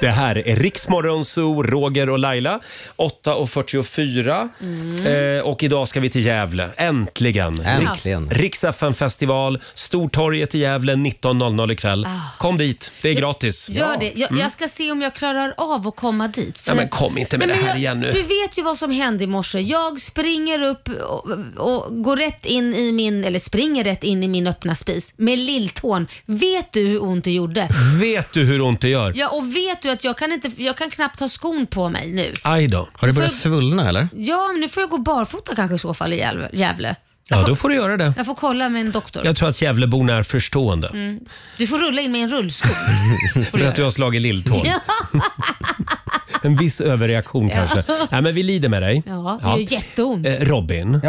Det här är Riksmorgon Zoo, Roger och Laila. 8.44. Mm. Eh, och idag ska vi till Gävle. Äntligen! Äntligen. Riks festival Stortorget i Gävle 19.00 ikväll. Ah. Kom dit, det är gratis. Gör det. Jag, Mm. jag ska se om jag klarar av att komma dit. Ja, men kom inte med Nej, det men här jag, igen nu. Du vet ju vad som hände i morse. Jag springer upp och, och går rätt in i min, eller springer rätt in i min öppna spis med lilltån. Vet du hur ont det gjorde? Vet du hur ont det gör? Ja, och vet du att jag kan, inte, jag kan knappt ha skon på mig nu. Aj då. Har det börjat svullna eller? Ja, men nu får jag gå barfota kanske i så fall i Gävle- Gävle. Jag Ja, får- då får du göra det. Jag får kolla med en doktor. Jag tror att Gävleborna är förstående Mm. Du får rulla in med en rullstol. för att du har slagit lilltån. ja, En viss överreaktion Ja. kanske. Nej, men vi lider med dig. Ja, det gör jätteont. Eh, Robin,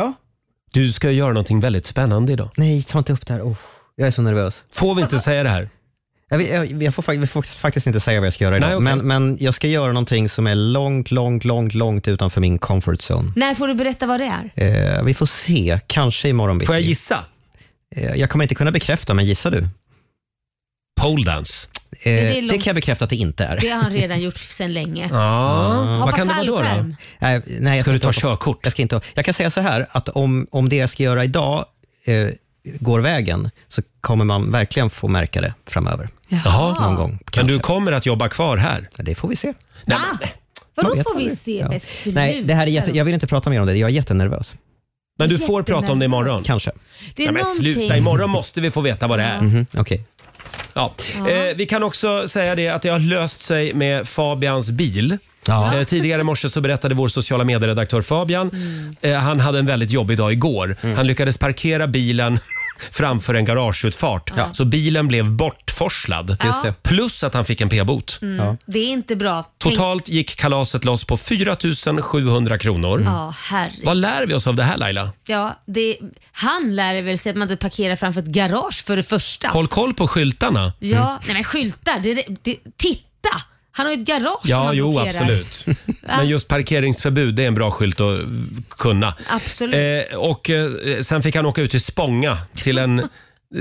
du ska göra någonting väldigt spännande idag. Nej, ta inte upp det här. Oh, jag är så nervös. Får vi inte säga det här? Jag, vill- jag, jag får, fak- vi får faktiskt inte säga vad jag ska göra idag, Nej, okej. men, men jag ska göra någonting som är långt, långt, långt, långt utanför min comfort zone. När får du berätta vad det är? Eh, vi får se, kanske imorgon bitti. Får jag gissa? Eh, jag kommer inte kunna bekräfta, men gissa du. Pole dance. Eh, det är det, långt- kan jag bekräfta att det inte är. Det har han redan gjort sedan länge. Ah. Hoppa fallskärm. Nej, nej, jag Ska du ta körkort? Jag ska inte ha- Jag kan säga så här, att om, om det jag ska göra idag eh, går vägen, så kommer man verkligen få märka det framöver. Jaha. Någon gång. Men du kommer att jobba kvar här? Det får vi se. Nej, Vadå Jag vet får vi aldrig. se? Ja. Men Nej, det här är jätte, sluta. jag vill inte prata mer om det. Jag är jättenervös. Men du får prata om det imorgon. Kanske. Det är Nej, men någonting- Mm. sluta, imorgon måste vi få veta vad det är. Mhm, Okej. Ja. Eh, vi kan också säga det att det har löst sig med Fabians bil. Eh, tidigare i morse så berättade vår sociala medieredaktör Fabian. Mm. Eh, han hade en väldigt jobbig dag igår. Mm. Han lyckades parkera bilen framför en garageutfart. Så bilen blev bortforslad. Just det. Plus att han fick en p-bot. Mm. Det är inte bra. Tänk- Totalt gick kalaset loss på 4 700 kronor. Ja, herregud. Vad lär vi oss av det här Laila? Ja, det, han lär väl sig att man inte parkerar framför ett garage för det första. Håll koll på skyltarna. Mm. Ja, nej men skyltar. Det, det, titta! Han har ju ett garage som Ja, han jo blockerar. absolut. Men just parkeringsförbud, det är en bra skylt att kunna. Absolut. Eh, och eh, sen fick han åka ut till Spånga till en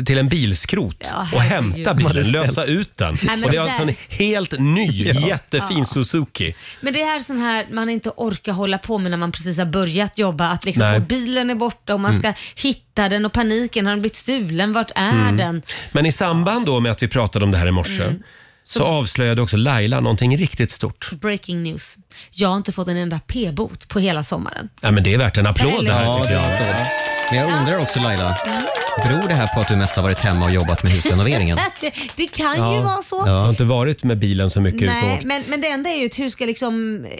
till en bilskrot Ja, och herregud. hämta De hade bilen, ställt. lösa ut den. Nej, men och det är det alltså en där- helt ny, Ja. jättefin Ja. Suzuki. Men det här är sån här man inte orkar hålla på med när man precis har börjat jobba. Att liksom, Nej. och bilen är borta och man ska Mm. hitta den och paniken. Har den blivit stulen? Vart är Mm. den? Men i samband då med att vi pratade om det här i morse Mm. så avslöjade också Laila någonting riktigt stort. Breaking news. Jag har inte fått en enda p-bot på hela sommaren. Ja, men det är värt en applåd det här Ja, tycker det är jag. en applåd. Men jag undrar också Laila, beror det här på att du mest har varit hemma och jobbat med husrenoveringen? det, det kan ju vara så. Jag har inte varit med bilen så mycket ut och Nej, åkt. men, men det enda är ju att hur ska liksom eh,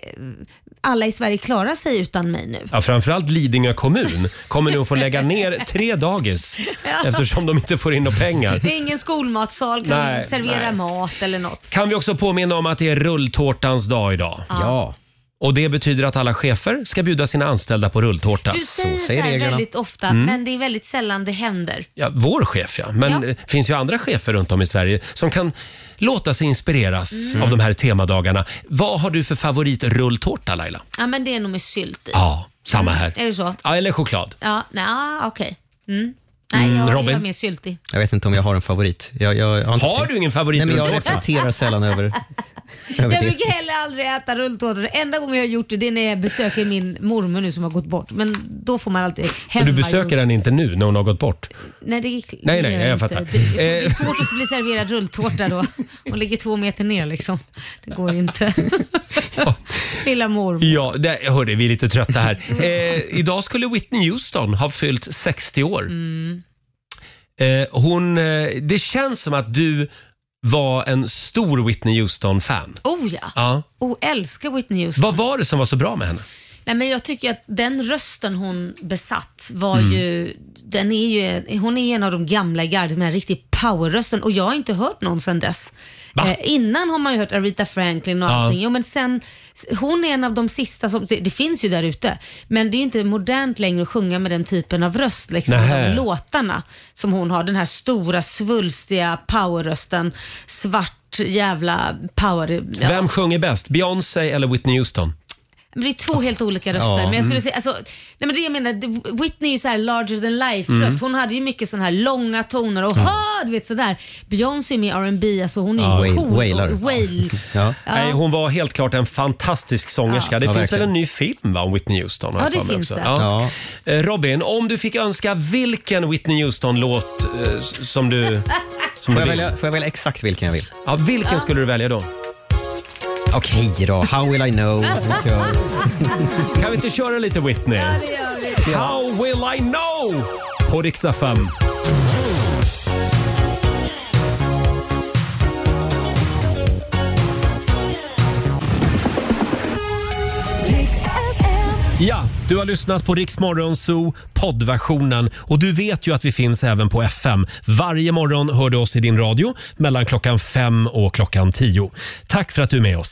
alla i Sverige klara sig utan mig nu? Ja, framförallt Lidingö kommun kommer nu att få lägga ner tre dagis Ja. eftersom de inte får in några pengar. Det är ingen skolmatsal, kan Nej, servera nej. mat eller något. Kan vi också påminna om att det är rulltårtans dag idag? Ja. Och det betyder att alla chefer ska bjuda sina anställda på rulltårta. Du säger så, här väldigt ofta, Mm. men det är väldigt sällan det händer. Ja, vår chef ja. Men Ja. det finns ju andra chefer runt om i Sverige som kan låta sig inspireras Mm. av de här temadagarna. Vad har du för favoritrulltårta Laila? Ja, men det är nog med sylt i. Ja, samma här. Mm. Är det så? Ja, eller choklad. Ja, nej, ah, okej. Mm. Nej, Mm, jag, Robin? jag är mer syltig. Jag vet inte om jag har en favorit. Jag, jag, jag Har du ingen favorit Nej, men jag rulltårta? reflekterar sällan över, Jag över det. brukar heller aldrig äta rulltårta. Det enda gången jag har gjort det, det är när jag besöker min mormor nu som har gått bort. Men då får man alltid hemma. Men du besöker henne inte nu när hon har gått bort? Nej, det gick Nej, nej, det gör jag inte. fattar. Det, det är Eh. svårt att bli serverad rulltårta då. Hon ligger två meter ner liksom. Det går ju inte. Lilla mormor. Ja, det, hörde, vi är lite trötta här. Mm. Eh, idag skulle Whitney Houston ha fyllt 60 år. Mm. Eh, hon, eh, det känns som att du var en stor Whitney Houston-fan. Oh ja. Ja. Oh, älskar Whitney Houston. Vad var det som var så bra med henne? Nej, men jag tycker att den rösten hon besatt var Mm. ju, den är ju, hon är ju en av de gamla i gardet med den riktiga powerrösten och jag har inte hört någon sedan dess. Va? Eh, innan har man ju hört Aretha Franklin och Ja. allting. Jo, men sen, hon är en av de sista som, det finns ju där ute, men det är ju inte modernt längre att sjunga med den typen av röst. Liksom, Nähä. de låtarna som hon har, den här stora svulstiga powerrösten, svart jävla power. ja. Vem sjunger bäst, Beyoncé eller Whitney Houston? Men det är två helt olika röster. Ja. Men jag skulle Mm. säga, alltså, nej men det jag menar, det- Whitney är ju så här larger than life Mm. röst. Hon hade ju mycket sådana här långa toner och ha, du vet sådär. Beyoncé är med i R&B alltså hon är Ja, ju wail- cool. wailar. och Wail. Ja. Ja. Nej, hon var helt klart en fantastisk sångerska. Ja. Det Ja, finns väl verkligen. en ny film va, om Whitney Houston? har Ja, jag det för mig finns också. Ja. det. Eh, Robin, om du fick önska vilken Whitney Houston-låt eh, s- som du, Får som du jag, vill? välja, får jag välja exakt vilken jag vill? Ja, vilken skulle du välja då? Okej då, How will I know? Kan vi inte köra lite Whitney? How will I know? På riksdag fem. Ja, du har lyssnat på Riksmorgon Zoo poddversionen och du vet ju att vi finns även på FM. Varje morgon hör du oss i din radio mellan klockan fem och klockan tio. Tack för att du är med oss.